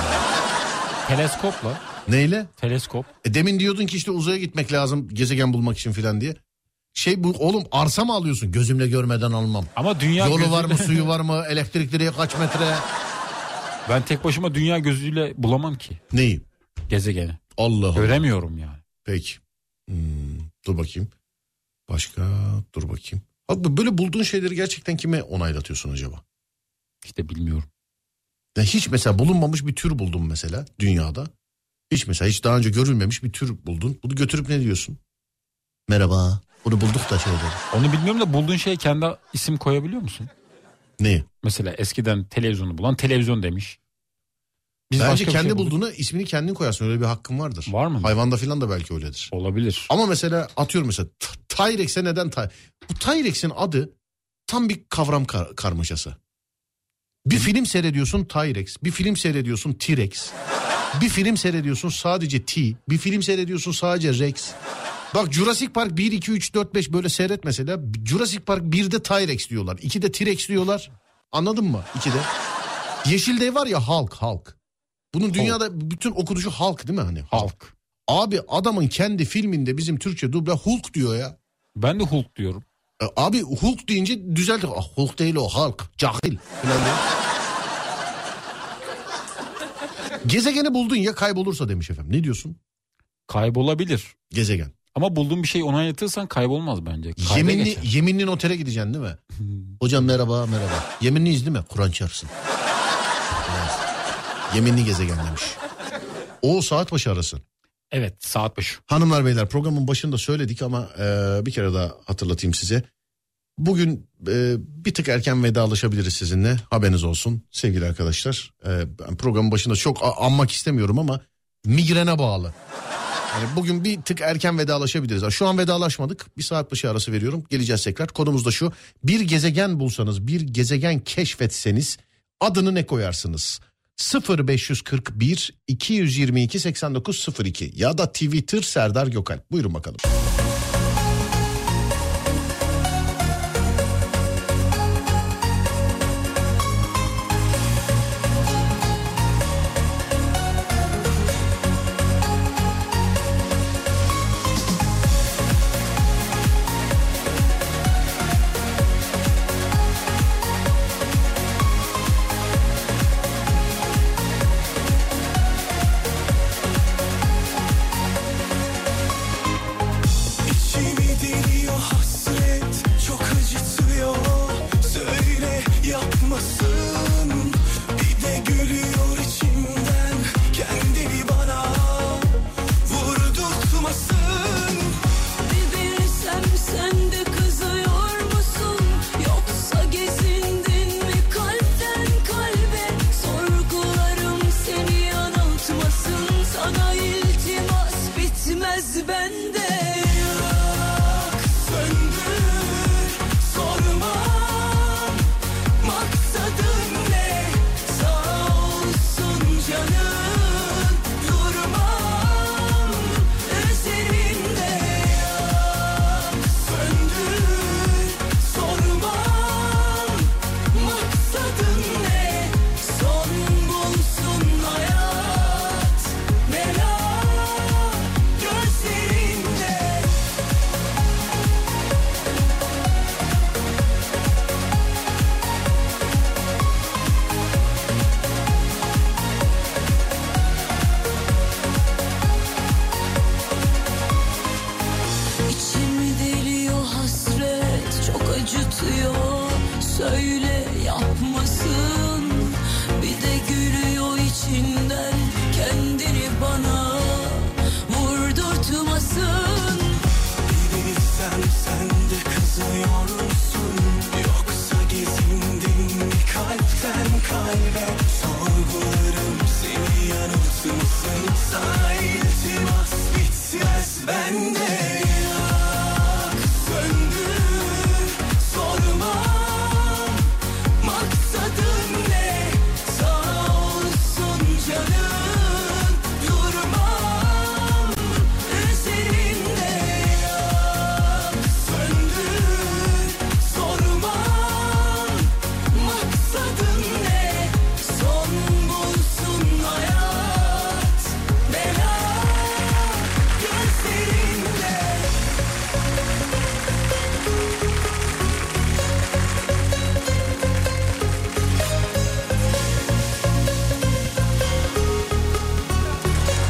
Teleskopla.
Neyle?
Teleskop.
E demin diyordun ki işte uzaya gitmek lazım gezegen bulmak için filan diye. Şey bu oğlum arsa mı alıyorsun? Gözümle görmeden almam.
Ama dünya
Yolu
gözüyle-
var mı suyu var mı elektrik direği kaç metre?
Ben tek başıma dünya gözüyle bulamam ki.
Neyi?
gezegeni.
Allah Allah.
Göremiyorum yani.
Peki. Hmm, dur bakayım. Başka dur bakayım. Abi böyle bulduğun şeyleri gerçekten kime onaylatıyorsun acaba?
İşte bilmiyorum.
Ya hiç mesela bulunmamış bir tür buldun mesela dünyada. Hiç mesela hiç daha önce görülmemiş bir tür buldun. Bunu götürüp ne diyorsun? Merhaba. Bunu bulduk da şey dedi.
Onu bilmiyorum da bulduğun şeye kendi isim koyabiliyor musun?
Neyi?
Mesela eskiden televizyonu bulan televizyon demiş. Biz
Bence
başka bir şey
kendi
bulduk.
bulduğuna ismini kendin koyarsın. Öyle bir hakkın vardır.
Var mı?
Hayvanda filan da belki öyledir.
Olabilir.
Ama mesela atıyorum mesela T- Tyrex'e neden Ty... Bu Tyrex'in adı tam bir kavram kar- karmaşası. Bir film seyrediyorsun Tyrex, bir film seyrediyorsun T-Rex, bir film seyrediyorsun sadece T, bir film seyrediyorsun sadece Rex. Bak Jurassic Park 1, 2, 3, 4, 5 böyle seyret mesela. Jurassic Park 1'de Tyrex diyorlar, 2'de T-Rex diyorlar. Anladın mı? 2'de. Yeşil Dev var ya Hulk, Hulk. Bunun dünyada bütün okunuşu Hulk değil mi hani? Hulk.
Halk.
Abi adamın kendi filminde bizim Türkçe dubla Hulk diyor ya.
Ben de Hulk diyorum.
E, Abi Hulk deyince düzelt. Ah, Hulk değil o Hulk. Cahil. Falan diyor. Gezegeni buldun ya kaybolursa demiş efendim. Ne diyorsun?
Kaybolabilir.
Gezegen.
Ama bulduğun bir şey onaylatırsan kaybolmaz bence. Kayda
Yeminli,
geçer.
yeminli notere gideceksin değil mi? Hocam merhaba merhaba. Yeminliyiz değil mi? Kur'an çarpsın. Evet. Yeminli gezegen demiş. O saat başı arasın.
Evet saat başı.
Hanımlar beyler programın başında söyledik ama e, bir kere daha hatırlatayım size. Bugün e, bir tık erken vedalaşabiliriz sizinle haberiniz olsun sevgili arkadaşlar. E, ben programın başında çok a- anmak istemiyorum ama migrene bağlı. Yani bugün bir tık erken vedalaşabiliriz. Şu an vedalaşmadık bir saat başı arası veriyorum geleceğiz tekrar. Konumuz da şu bir gezegen bulsanız bir gezegen keşfetseniz adını ne koyarsınız? 0541 222 8902 ya da Twitter Serdar Gökalp. Buyurun bakalım.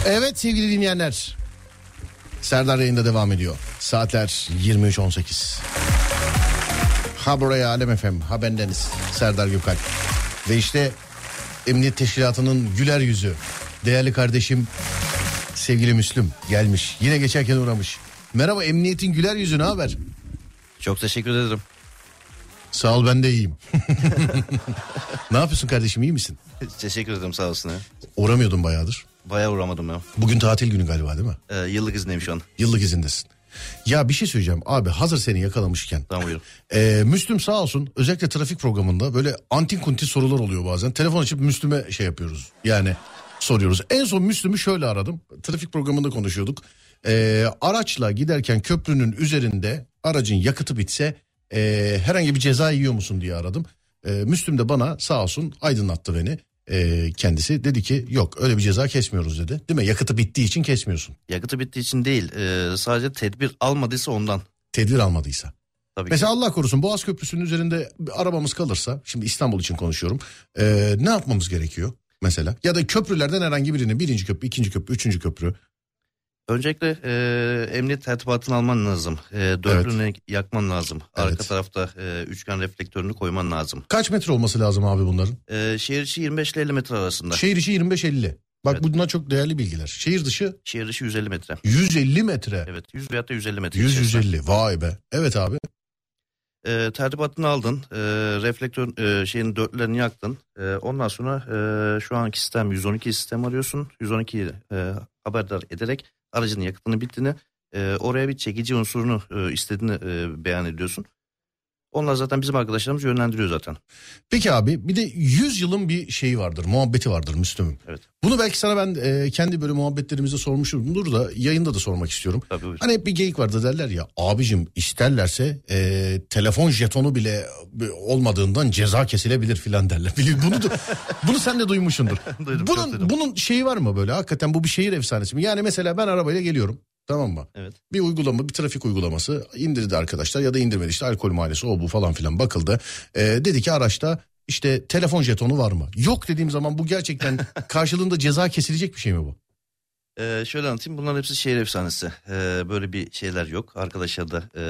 Evet sevgili dinleyenler. Serdar yayında devam ediyor. Saatler 23.18. Ha buraya Alem Efem, ha bendeniz Serdar Gökalp. Ve işte Emniyet Teşkilatı'nın güler yüzü. Değerli kardeşim sevgili Müslüm gelmiş. Yine geçerken uğramış. Merhaba emniyetin güler yüzü ne haber?
Çok teşekkür ederim.
Sağ ol ben de iyiyim. ne yapıyorsun kardeşim iyi misin?
Teşekkür ederim sağ olsun. ya.
Uğramıyordun bayağıdır.
Bayağı uğramadım ya.
Bugün tatil günü galiba değil mi?
Ee, yıllık izneyim şu an.
Yıllık izindesin. Ya bir şey söyleyeceğim abi hazır seni yakalamışken.
Tamam buyurun.
Ee, Müslüm sağ olsun özellikle trafik programında böyle antin kuntin sorular oluyor bazen. Telefon açıp Müslüm'e şey yapıyoruz yani soruyoruz. En son Müslüm'ü şöyle aradım. Trafik programında konuşuyorduk. Ee, araçla giderken köprünün üzerinde aracın yakıtı bitse ee, herhangi bir ceza yiyor musun diye aradım. Ee, Müslüm de bana sağ olsun aydınlattı beni. Ee, kendisi dedi ki yok öyle bir ceza kesmiyoruz dedi. Değil mi yakıtı bittiği için kesmiyorsun.
Yakıtı bittiği için değil. ee, sadece tedbir almadıysa ondan.
Tedbir almadıysa.
Tabii
Mesela Allah korusun Boğaz Köprüsü'nün üzerinde bir arabamız kalırsa şimdi İstanbul için konuşuyorum Ee, ne yapmamız gerekiyor mesela ya da köprülerden herhangi birini birinci köprü ikinci köprü üçüncü köprü
ki. Öncelikle ee, emniyet tertibatını alman lazım. E, dörtlüğünü yakman lazım. Arka
Evet.
tarafta ee, üçgen reflektörünü koyman lazım.
kaç metre olması lazım abi bunların
Ee, şehir içi 25 ile 50 metre arasında.
şehir içi 25-50 bak
Evet.
bunlar çok değerli bilgiler şehir dışı
Şehir içi 150 metre.
150 metre
Evet 100 veyahut da 150 metre. içerisinde.
100-150 vay be evet abi
E, tertibatını aldın. E, reflektör e, şeyin dörtlerini yaktın. E, ondan sonra e, şu anki sistem 112 sistem arıyorsun. 112'yi e, haberdar ederek aracının yakıtının bittiğini e, oraya bir çekici unsurunu e, istediğini e, beyan ediyorsun. Onlar zaten bizim arkadaşlarımız yönlendiriyor zaten.
Peki abi bir de 100 yılın bir şeyi vardır, muhabbeti vardır Müslüm'ün.
Evet.
Bunu belki sana ben e, kendi böyle muhabbetlerimizde sormuşumdur da yayında da sormak istiyorum.
Tabii buyur.
Hani hep bir geyik vardı derler ya abicim isterlerse e, telefon jetonu bile olmadığından ceza kesilebilir filan derler. Bili- Bunu da, bunu sen de duymuşsundur.
Duydum, çok
bunun
duydum.
bunun şeyi var mı böyle hakikaten bu bir şehir efsanesi mi? Yani mesela ben arabayla geliyorum tamam mı?
Evet.
Bir uygulama bir trafik uygulaması indirdi arkadaşlar ya da indirmedi işte alkol maalesef o bu falan filan bakıldı. E, dedi ki araçta işte telefon jetonu var mı? Yok dediğim zaman bu gerçekten karşılığında ceza kesilecek bir şey mi bu?
Ee, şöyle anlatayım bunların hepsi şehir efsanesi. Ee, böyle bir şeyler yok. Arkadaşlar da e,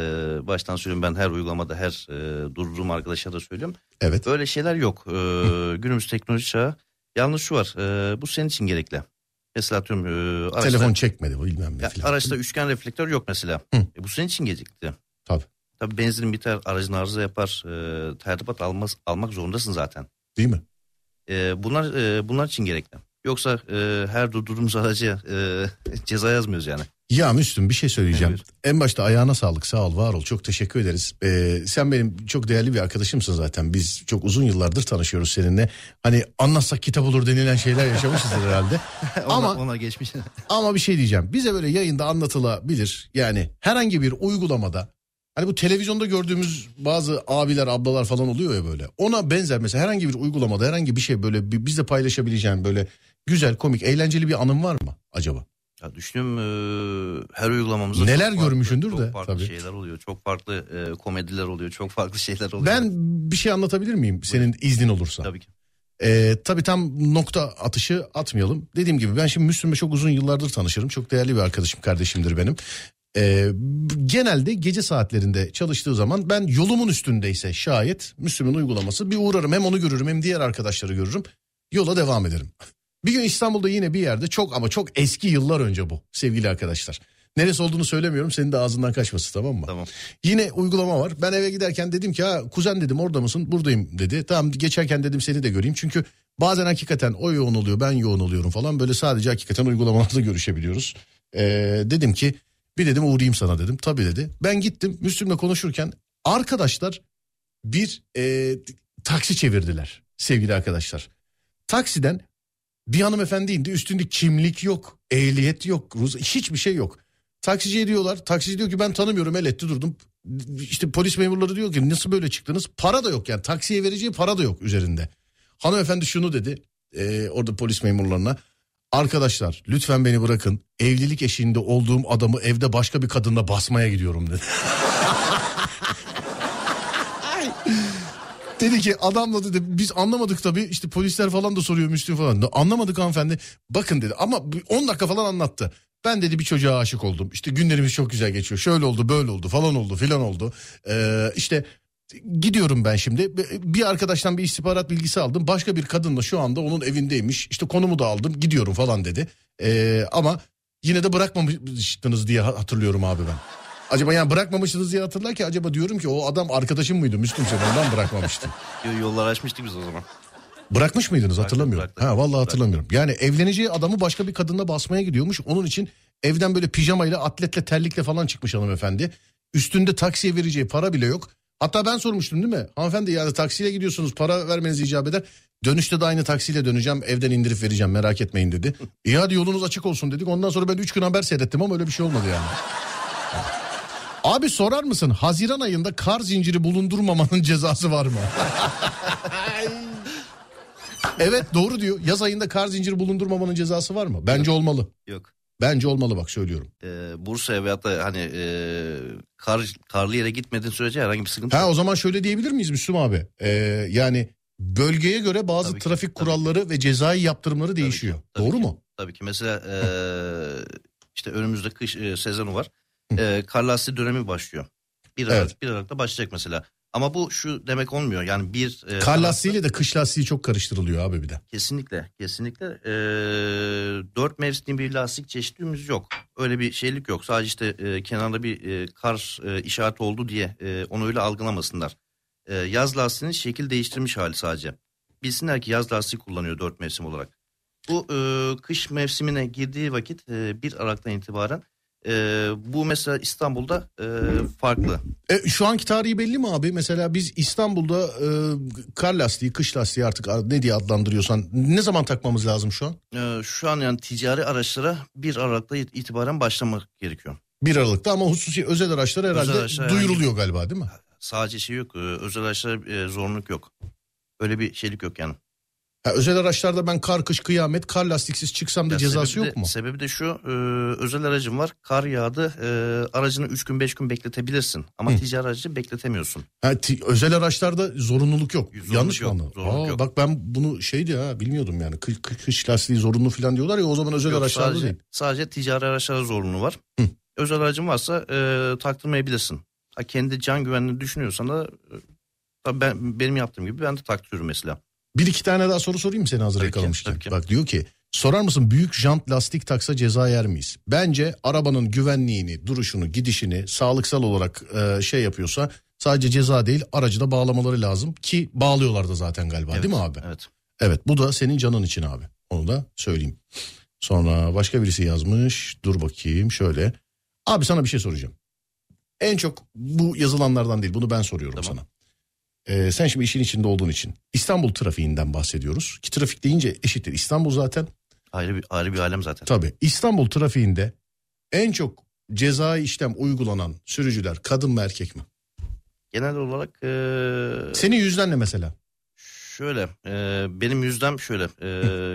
baştan söyleyeyim ben her uygulamada her e, durduğum arkadaşlara da söylüyorum.
Evet.
Öyle şeyler yok. Ee, günümüz teknoloji çağı. Yalnız şu var e, bu senin için gerekli. Mesela atıyorum e, araçta,
Telefon çekmedi bu bilmem ne
Ya,
filan.
araçta üçgen reflektör yok mesela. E, bu senin için gerekli.
Tabii.
Tabii benzin biter aracın arıza yapar. E, tertibat almaz, almak zorundasın zaten.
Değil mi?
E, bunlar e, bunlar için gerekli. Yoksa e, her durduğumuz araca e, ceza yazmıyoruz yani.
Ya Müslüm bir şey söyleyeceğim.
Evet.
En başta ayağına sağlık sağ ol var ol çok teşekkür ederiz. Ee, sen benim çok değerli bir arkadaşımsın zaten. Biz çok uzun yıllardır tanışıyoruz seninle. Hani anlatsak kitap olur denilen şeyler yaşamışızdır herhalde.
Ama
ama
ona geçmiş.
ama bir şey diyeceğim. Bize böyle yayında anlatılabilir. Yani herhangi bir uygulamada hani bu televizyonda gördüğümüz bazı abiler ablalar falan oluyor ya böyle. Ona benzer mesela herhangi bir uygulamada herhangi bir şey böyle bi- bizle paylaşabileceğin böyle güzel komik eğlenceli bir anın var mı acaba?
Ya düşünüyorum eee, her uygulamamızda çok
Neler
farklı-
görmüşündür
çok
de,
farklı
tabii.
şeyler oluyor. Çok farklı eee, komediler oluyor. Çok farklı şeyler oluyor.
Ben bir şey anlatabilir miyim senin iznin olursa?
tabii ki.
Ee, tabii tam nokta atışı atmayalım. Dediğim gibi ben şimdi Müslüm'le çok uzun yıllardır tanışırım. Çok değerli bir arkadaşım, kardeşimdir benim. Ee, b- genelde gece saatlerinde çalıştığı zaman ben yolumun üstündeyse şayet Müslüm'ün uygulaması bir uğrarım. Hem onu görürüm hem diğer arkadaşları görürüm. Yola devam ederim. Bir gün İstanbul'da yine bir yerde çok ama çok eski yıllar önce bu sevgili arkadaşlar. Neresi olduğunu söylemiyorum senin de ağzından kaçması tamam mı?
Tamam.
Yine uygulama var. Ben eve giderken dedim ki ha kuzen dedim orada mısın? Buradayım dedi. Tamam geçerken dedim seni de göreyim. Çünkü bazen hakikaten o yoğun oluyor ben yoğun oluyorum falan. Böyle sadece hakikaten uygulamalarda görüşebiliyoruz. Ee, dedim ki bir dedim uğrayayım sana dedim. Tabii dedi. Ben gittim Müslüm'le konuşurken arkadaşlar bir e, taksi çevirdiler sevgili arkadaşlar. Taksiden bir hanımefendi indi üstünde kimlik yok, ehliyet yok, ruz- hiçbir şey yok. Taksiciye diyorlar. Taksici diyor ki ben tanımıyorum el etti durdum. İşte polis memurları diyor ki nasıl böyle çıktınız? Para da yok yani taksiye vereceği para da yok üzerinde. Hanımefendi şunu dedi e, orada polis memurlarına. Arkadaşlar lütfen beni bırakın. Evlilik eşiğinde olduğum adamı evde başka bir kadınla basmaya gidiyorum dedi. dedi ki adamla dedi biz anlamadık tabii işte polisler falan da soruyor Müslüm falan. Da, Anlamadık hanımefendi bakın dedi ama bir 10 dakika falan anlattı. Ben dedi bir çocuğa aşık oldum işte günlerimiz çok güzel geçiyor şöyle oldu böyle oldu falan oldu filan oldu. Ee, işte gidiyorum ben şimdi bir arkadaştan bir istihbarat bilgisi aldım başka bir kadınla şu anda onun evindeymiş işte konumu da aldım gidiyorum falan dedi. Ee, ama yine de bırakmamıştınız diye hatırlıyorum abi ben. Acaba yani bırakmamışsınız diye hatırlar ki acaba diyorum ki o adam arkadaşım mıydı Müslüm sen ondan bırakmamıştın.
Yollar açmıştık biz o zaman.
Bırakmış mıydınız hatırlamıyorum.
bıraktım.
Ha vallahi hatırlamıyorum. Yani evleneceği adamı başka bir kadınla basmaya gidiyormuş. Onun için evden böyle pijamayla atletle terlikle falan çıkmış hanımefendi. Üstünde taksiye vereceği para bile yok. Hatta ben sormuştum değil mi? Hanımefendi yani taksiyle gidiyorsunuz para vermeniz icap eder. Dönüşte de aynı taksiyle döneceğim evden indirip vereceğim merak etmeyin dedi. İyi hadi yolunuz açık olsun dedik. Ondan sonra ben 3 gün haber seyrettim ama öyle bir şey olmadı yani. Abi sorar mısın Haziran ayında kar zinciri bulundurmamanın cezası var mı? evet doğru diyor. Yaz ayında kar zinciri bulundurmamanın cezası var mı? Bence olmalı.
Yok.
Bence olmalı bak söylüyorum.
Ee, Bursa'ya veyahut da hani e, kar, karlı yere gitmediğin sürece herhangi bir sıkıntı
Ha
yok.
o zaman şöyle diyebilir miyiz Müslüm abi? Ee, yani bölgeye göre bazı
Tabii ki,
trafik
tabii ki.
kuralları ve cezai yaptırımları
ki,
değişiyor.
tabii
doğru
ki.
mu?
Tabii ki mesela e, işte önümüzde kış e, sezonu var. E, kar lastiği dönemi başlıyor. 1 Aralık,
Evet.
1 Aralık'ta başlayacak mesela. Ama bu şu demek olmuyor. Yani bir e,
Kar lastiğiyle de kış lastiği çok karıştırılıyor abi bir de.
Kesinlikle, kesinlikle. Ee, dört mevsimli bir lastik çeşitimiz yok. Öyle bir şeylik yok. Sadece işte e, kenarda bir e, kar e, işareti oldu diye e, onu öyle algılamasınlar. E, yaz lastiğinin şekil değiştirmiş hali sadece. Bilsinler ki yaz lastiği kullanıyor dört mevsim olarak. Bu e, kış mevsimine girdiği vakit e, 1 Aralık'tan itibaren e, bu mesela İstanbul'da e, farklı.
E, şu anki tarihi belli mi abi? Mesela biz İstanbul'da e, kar lastiği, kış lastiği artık ne diye adlandırıyorsan ne zaman takmamız lazım şu an?
E, şu an yani ticari araçlara 1 Aralık'ta itibaren başlamak gerekiyor.
1 Aralık'ta ama hususi özel araçlar herhalde
Özel araçlar
duyuruluyor galiba değil mi?
sadece şey yok. e, Özel araçlara e, zorunluluk yok. Öyle bir şeylik yok yani.
Ha, özel araçlarda ben kar kış kıyamet kar lastiksiz çıksam da
Ya
cezası
sebebi de-
yok mu?
Sebebi de şu. e, özel aracım var. Kar yağdı. e, aracını 3 gün 5 gün bekletebilirsin. Ama ticari aracı bekletemiyorsun.
Ha, ti- özel araçlarda zorunluluk yok.
Zorunluluk
Yanlış mı
yok,
anladım?
zorunluluk
Aa,
yok.
Bak ben bunu şeydi ha bilmiyordum yani. Kı- kı- kış lastiği zorunlu falan diyorlar ya o zaman özel
Yok,
araçlarda
sadece,
değil.
sadece ticari araçlara zorunluluğu var. Özel aracın varsa e, taktırmayabilirsin. Ha, kendi can güvenliğini düşünüyorsan da e, tabii ben benim yaptığım gibi ben de taktırıyorum mesela.
Bir iki tane daha soru sorayım seni hazır
Tabii ki,
yakalamışken.
tabii ki.
Bak diyor ki sorar mısın büyük jant lastik taksa ceza yer miyiz? Bence arabanın güvenliğini, duruşunu, gidişini sağlıksal olarak e, şey yapıyorsa sadece ceza değil aracı da bağlamaları lazım ki bağlıyorlar da zaten galiba değil mi abi?
Evet.
Evet bu da senin canın için abi. Onu da söyleyeyim. Sonra başka birisi yazmış. Dur bakayım şöyle. Abi sana bir şey soracağım. En çok bu yazılanlardan değil bunu ben soruyorum
Tamam.
sana. Ee, sen şimdi işin içinde olduğun için İstanbul trafiğinden bahsediyoruz. Ki trafik deyince eşittir İstanbul zaten.
Ayrı bir ayrı bir alem zaten.
Tabii İstanbul trafiğinde en çok cezai işlem uygulanan sürücüler kadın mı erkek mi?
Genel olarak e,
Senin yüzden ne mesela?
Şöyle e, benim yüzdem şöyle e,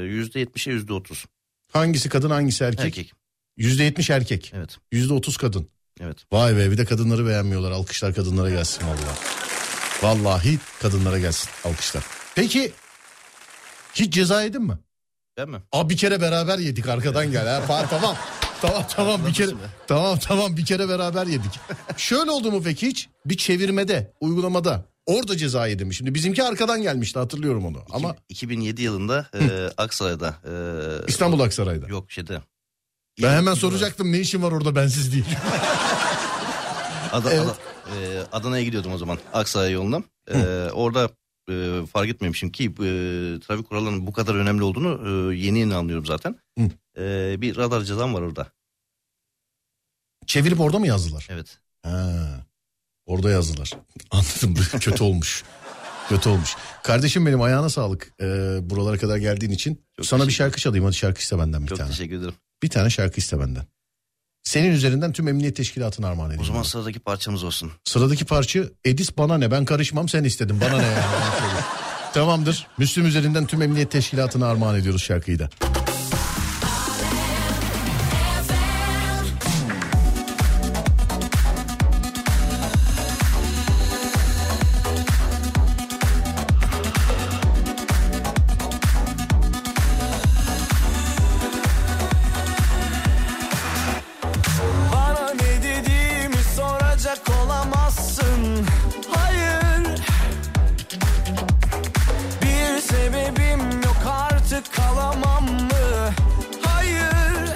yüzde yetmişe yüzde otuz
Hangisi kadın hangisi erkek?
erkek.
Yüzde yetmiş erkek.
Evet
Yüzde otuz kadın.
evet.
Vay be bir de kadınları beğenmiyorlar. Alkışlar kadınlara gelsin vallahi. Vallahi kadınlara gelsin alkışlar. Peki hiç ceza yedin mi?
Değil mi?
Aa bir kere beraber yedik arkadan gel ha. Fa- tamam. Tamam tamam bir kere tamam tamam bir kere beraber yedik. Şöyle oldu mu peki hiç? Bir çevirmede, uygulamada orada ceza yedim. Şimdi bizimki arkadan gelmişti hatırlıyorum onu. Ama
Ama 2007 yılında e, Aksaray'da e,
İstanbul Aksaray'da.
yok şeyde.
Ben hemen soracaksam ne işin var orada bensiz diye.
Ada- Ada- e, Adana'ya gidiyordum o zaman Aksaray yoluna. E, orada e, fark etmemişim ki e, trafik kurallarının bu kadar önemli olduğunu e, yeni yeni anlıyorum zaten.
Hı.
E, bir radar cezam var orada.
Çevirip orada mı yazdılar?
Evet.
Ha, orada yazdılar. Anladım. Kötü olmuş. Kötü olmuş. Kardeşim benim ayağına sağlık. Ee, buralara kadar geldiğin için.
Çok
Sana bir
teşekkür-
şarkı çalayım. Hadi şarkı iste benden bir
Çok
tane.
teşekkür ederim.
Bir tane şarkı iste benden. Senin üzerinden tüm emniyet teşkilatına armağan edeyim.
O zaman
bana.
sıradaki parçamız olsun.
Sıradaki parça Edis bana ne ben karışmam sen istedin bana ne yani. Tamamdır. Müslüm üzerinden tüm emniyet teşkilatına armağan ediyoruz şarkıyı da.
alamam mı? Hayır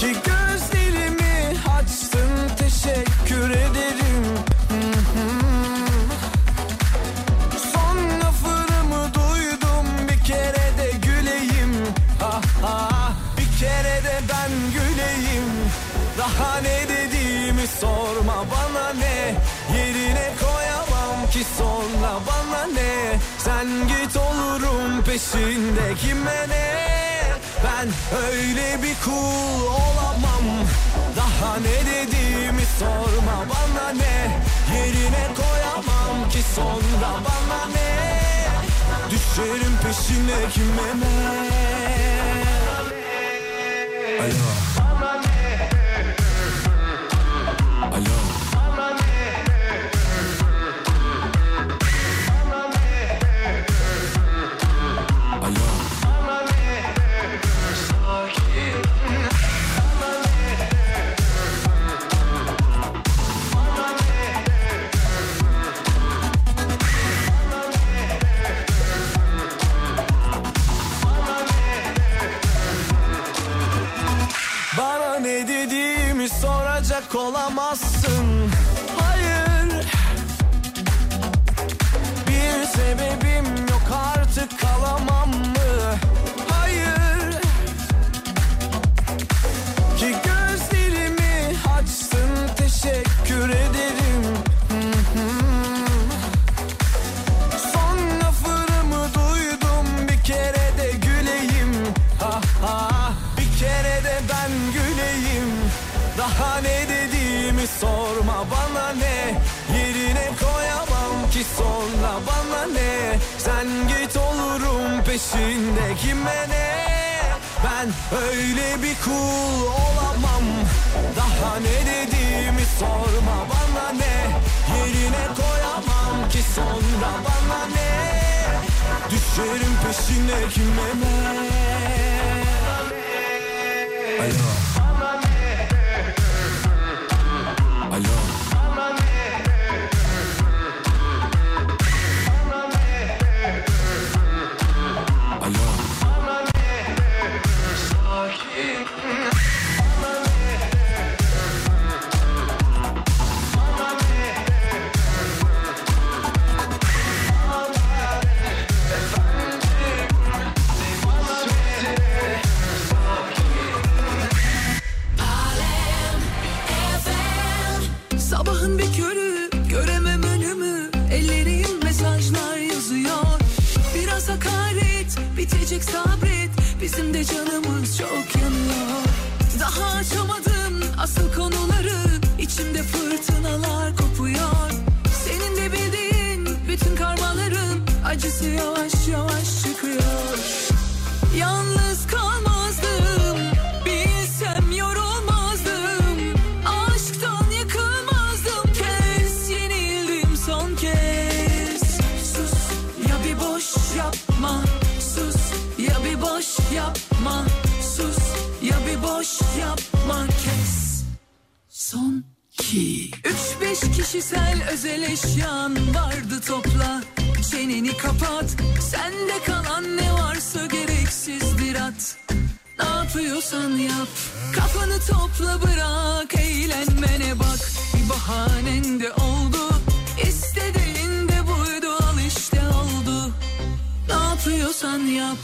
Ki gözlerimi açtın teşekkür ederim Hı hı. Son lafımı duydum bir kere de güleyim ha, ha. Bir kere de ben güleyim Daha ne dediğimi sorma bana ne Yerine koyamam ki sonra bana ne Sen git olurum peşinde kime ne ben öyle bir kul olamam Daha ne dediğimi sorma bana ne Yerine koyamam ki sonra bana ne Düşerim peşine kime ne Alo Alo Alo Bana ne dediğimi soracak olamazsın Hayır Bir sebebim yok artık kalamam mı? Hayır Ki gözlerimi açtın teşekkür ederim Hı hı. Son lafımı duydum bir kere de güleyim ha, ha. Bir kere de ben güleyim Daha ne dediğimi sorma bana ne Yerine koyamam ki sonra bana ne Sen git olurum peşinde kime ne ben öyle bir kul olamam Daha ne dediğimi sorma bana ne Yerine koyamam ki sonra bana ne Düşerim peşine kime ne Alo Alo Alo
Sabahın bir körü göremem önümü Ellerim mesajlar yazıyor Biraz hakaret bitecek sabret Bizim de canımız çok yanıyor Daha açamadım asıl konuları İçimde fırtınalar kopuyor Senin de bildiğin bütün karmaların Acısı yavaş yavaş çıkıyor Yalnız kalmazdım, bilsem yorulmazdım, aşktan yıkılmazdım. Kes yenildim son kez. Sus ya bir boş yapma, sus ya bir boş yapma, sus ya bir boş yapma kes. Son ki. Üç beş kişisel özel eşyan vardı topla. Çeneni kapat. Sende kalan ne varsa gereksizdir at. Ne yapıyorsan yap. Kafanı topla bırak eğlenmene bak. Bir bahanen de oldu. İstediğin de buydu al işte oldu. Ne yapıyorsan yap.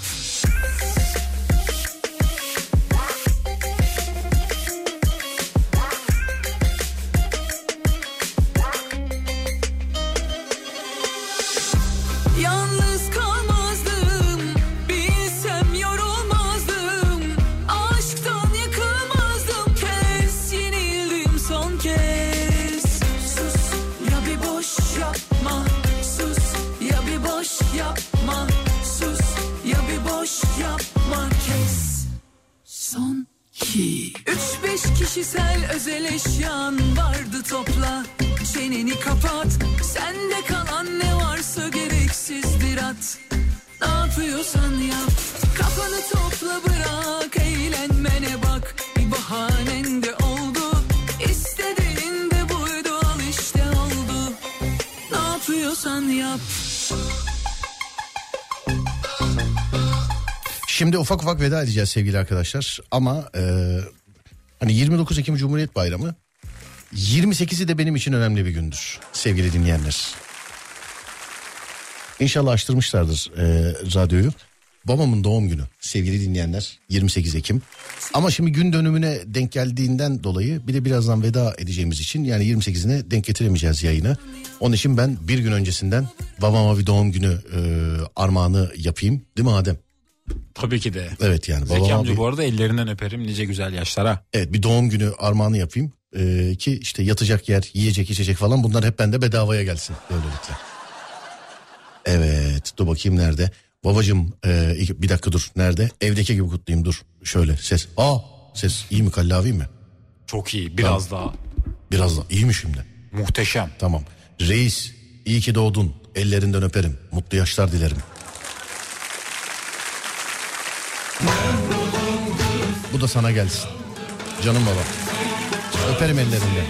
Yalnız kalmazdım, bilsem yorulmazdım, aşktan yıkılmazdım. Kes yenildim son kez. Sus ya bir boş yapma, sus ya bir boş yapma, sus ya bir boş yapma kes. Son ki. Üç beş kişisel özel eşyan vardı topla. Çeneni kapat. Sende kalan ne varsa gereksizdir at. Ne yapıyorsan yap. Kafanı topla bırak. Eğlenmene bak. Bir bahanen de oldu. İstediğin de buydu. Al işte oldu. Ne yapıyorsan yap.
Şimdi ufak ufak veda edeceğiz sevgili arkadaşlar. Ama e, hani 29 Ekim Cumhuriyet Bayramı 28'i de benim için önemli bir gündür sevgili dinleyenler. İnşallah açtırmışlardır e, radyoyu. Babamın doğum günü sevgili dinleyenler 28 Ekim. Ama şimdi gün dönümüne denk geldiğinden dolayı bir de birazdan veda edeceğimiz için yani 28'ine denk getiremeyeceğiz yayını. Onun için ben bir gün öncesinden babama bir doğum günü e, armağanı yapayım değil mi Adem?
Tabii ki de.
Evet yani
Zeki
babama
amca
bir,
bu arada ellerinden öperim nice güzel yaşlara.
evet, bir doğum günü armağanı yapayım. E, ki işte yatacak yer, yiyecek, içecek falan bunlar hep bende bedavaya gelsin böylelikle. Evet dur bakayım nerede? Babacım e, iki- bir dakika dur nerede? Evdeki gibi kutlayayım dur şöyle ses. Aa ses iyi mi kallavi mi?
Çok iyi biraz daha.
Biraz daha iyi mi şimdi?
Muhteşem.
Tamam. Reis iyi ki doğdun. Ellerinden öperim. Mutlu yaşlar dilerim. Bu da sana gelsin. Canım baba. Öperim ellerinden.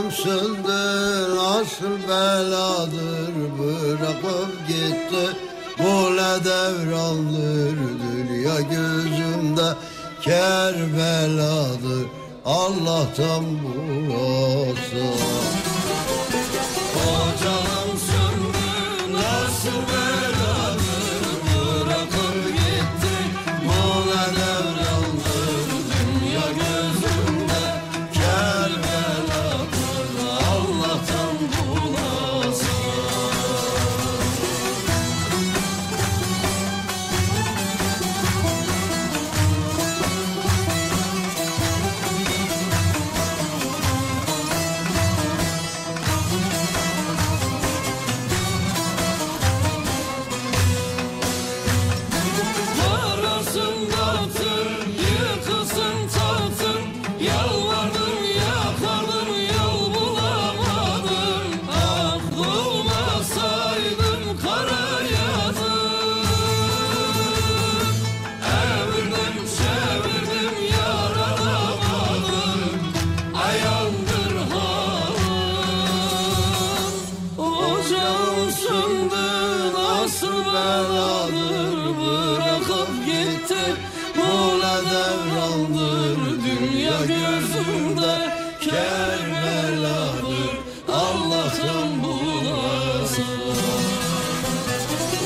Ocağımsındır asıl beladır Bırakıp gitti Kule devrandır Dünya gözümde Kerbeladır Allah'tan burası Ocağımsındır nasıl beladır Bırakıp gitti Kule devrandır Dünya gözümde Kerbeladır Allah'tan bulasın.
Yarasın dağıtır, yıkılsın tahtın Yalvardım yakardım yol bulamadım Ah bulmasaydım kara yazın Evirdim çevirdim yaralamadım Ayağımdır halım Ocağımsındı nasıl beladır Bırakıp gitti Muğla devrandır Dünya gözümde Kerbeladır Allah'tan bulasın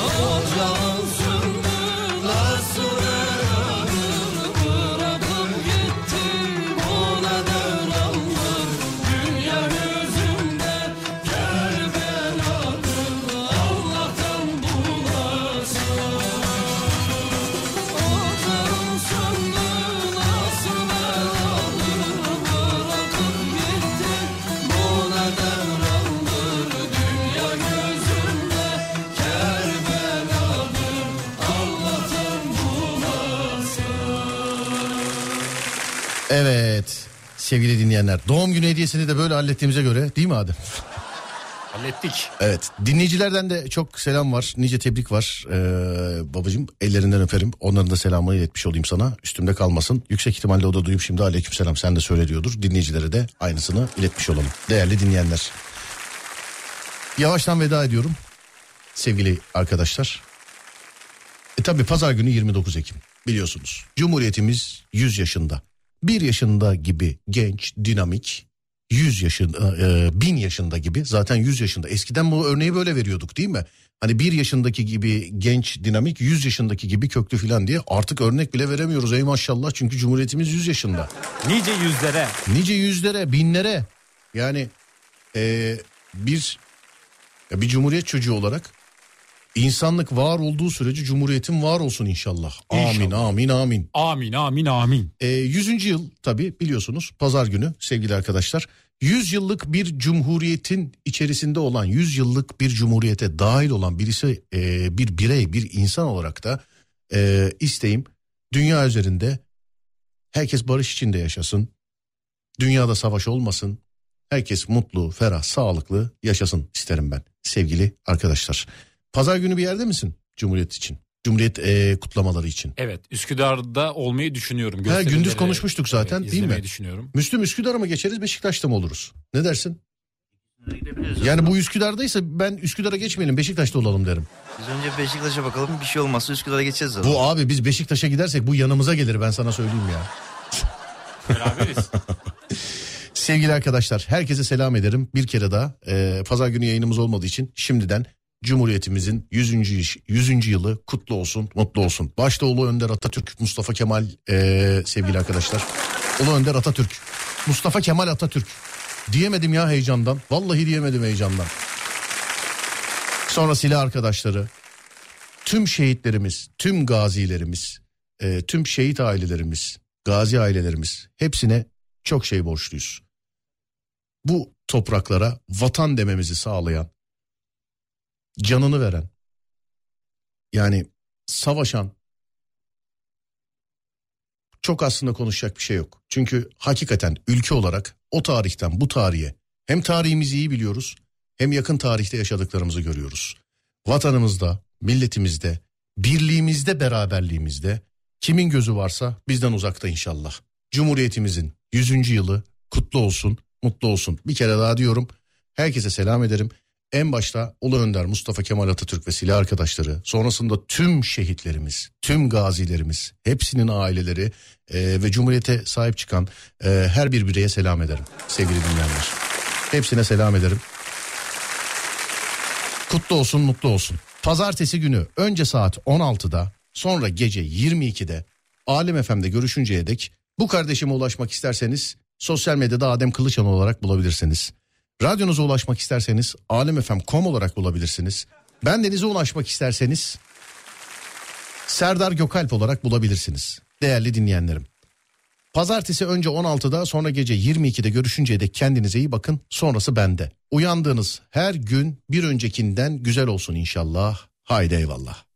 Ocağımsındı nasıl beladır Bırakıp gitti Muğla devrandır Dünya gözümde Kerbeladır Allah'tan bulasın Ocağın söndü nasıl beladır Bırakıp gitti bu ne devrandır Dünya gözümde Kerbeladır Allah'tan bulasın
Evet sevgili dinleyenler doğum günü hediyesini de böyle hallettiğimize göre değil mi Adem?
Hallettik.
Evet dinleyicilerden de çok selam var nice tebrik var ee, babacığım ellerinden öperim onların da selamını iletmiş olayım sana üstümde kalmasın yüksek ihtimalle o da duyup şimdi aleykümselam sen de söyle diyordur dinleyicilere de aynısını iletmiş olalım değerli dinleyenler. Yavaştan veda ediyorum sevgili arkadaşlar. E tabi pazar günü 29 Ekim biliyorsunuz Cumhuriyetimiz 100 yaşında. 1 yaşında gibi genç dinamik 100 yaşında, e, 1000 yaşında gibi zaten 100 yaşında. Eskiden bu örneği böyle veriyorduk değil mi? Hani 1 yaşındaki gibi genç dinamik 100 yaşındaki gibi köklü filan diye artık örnek bile veremiyoruz ey maşallah çünkü Cumhuriyetimiz 100 yaşında.
Nice yüzlere.
Nice yüzlere, binlere yani e, bir ya bir cumhuriyet çocuğu olarak insanlık var olduğu sürece cumhuriyetin var olsun inşallah. Amin,
İnşallah.
amin, amin.
Amin amin amin.
E, 100. yıl tabii biliyorsunuz pazar günü sevgili arkadaşlar. 100 yıllık bir cumhuriyetin içerisinde olan 100 yıllık bir cumhuriyete dahil olan birisi e, bir birey bir insan olarak da e, isteğim dünya üzerinde herkes barış içinde yaşasın. Dünyada savaş olmasın. Herkes mutlu, ferah, sağlıklı yaşasın isterim ben sevgili arkadaşlar. Pazar günü bir yerde misin Cumhuriyet için? Cumhuriyet eee, kutlamaları için.
Evet Üsküdar'da olmayı düşünüyorum.
Ha,
Gösterileri,
gündüz konuşmuştuk zaten
evet,
değil mi?
izlemeyi düşünüyorum.
Müslüm Üsküdar'a mı geçeriz Beşiktaş'ta mı oluruz? Ne dersin?
Gidebiliriz.
Yani bu Üsküdar'daysa ben Üsküdar'a geçmeyelim Beşiktaş'ta olalım derim.
Biz önce Beşiktaş'a bakalım bir şey olmazsa Üsküdar'a geçeceğiz zaten.
Bu abi biz Beşiktaş'a gidersek bu yanımıza gelir ben sana söyleyeyim ya.
Beraberiz.
Sevgili arkadaşlar herkese selam ederim. Bir kere daha e, pazar günü yayınımız olmadığı için şimdiden Cumhuriyetimizin 100. iş- 100. yılı kutlu olsun, mutlu olsun. Başta Ulu Önder Atatürk, Mustafa Kemal e, sevgili arkadaşlar. Ulu Önder Atatürk, Mustafa Kemal Atatürk. Diyemedim ya heyecandan. Vallahi diyemedim heyecandan. Sonrasıyla arkadaşları, tüm şehitlerimiz, tüm gazilerimiz, e, tüm şehit ailelerimiz, gazi ailelerimiz hepsine çok şey borçluyuz. Bu topraklara vatan dememizi sağlayan, canını veren, yani savaşan, çok aslında konuşacak bir şey yok. Çünkü hakikaten ülke olarak o tarihten bu tarihe hem tarihimizi iyi biliyoruz hem yakın tarihte yaşadıklarımızı görüyoruz. Vatanımızda, milletimizde, birliğimizde, beraberliğimizde kimin gözü varsa bizden uzakta inşallah. Cumhuriyetimizin 100. yılı kutlu olsun, mutlu olsun. Bir kere daha diyorum. Herkese selam ederim. En başta Ulu Önder Mustafa Kemal Atatürk ve silah arkadaşları, sonrasında tüm şehitlerimiz, tüm gazilerimiz, hepsinin aileleri e, ve Cumhuriyete sahip çıkan e, her bir bireye selam ederim sevgili dinleyenler. Hepsine selam ederim. Kutlu olsun, mutlu olsun. Pazartesi günü önce saat 16'da, sonra gece 22'de Alem FM'de görüşünceye dek bu kardeşime ulaşmak isterseniz sosyal medyada Adem Kılıçan olarak bulabilirsiniz. Radyonuza ulaşmak isterseniz alemfm.com olarak bulabilirsiniz. Bendenize ulaşmak isterseniz Serdar Gökalp olarak bulabilirsiniz. Değerli dinleyenlerim. Pazartesi önce 16'da sonra gece 22'de görüşünceye dek kendinize iyi bakın. Sonrası bende. Uyandığınız her gün bir öncekinden güzel olsun inşallah. Haydi eyvallah.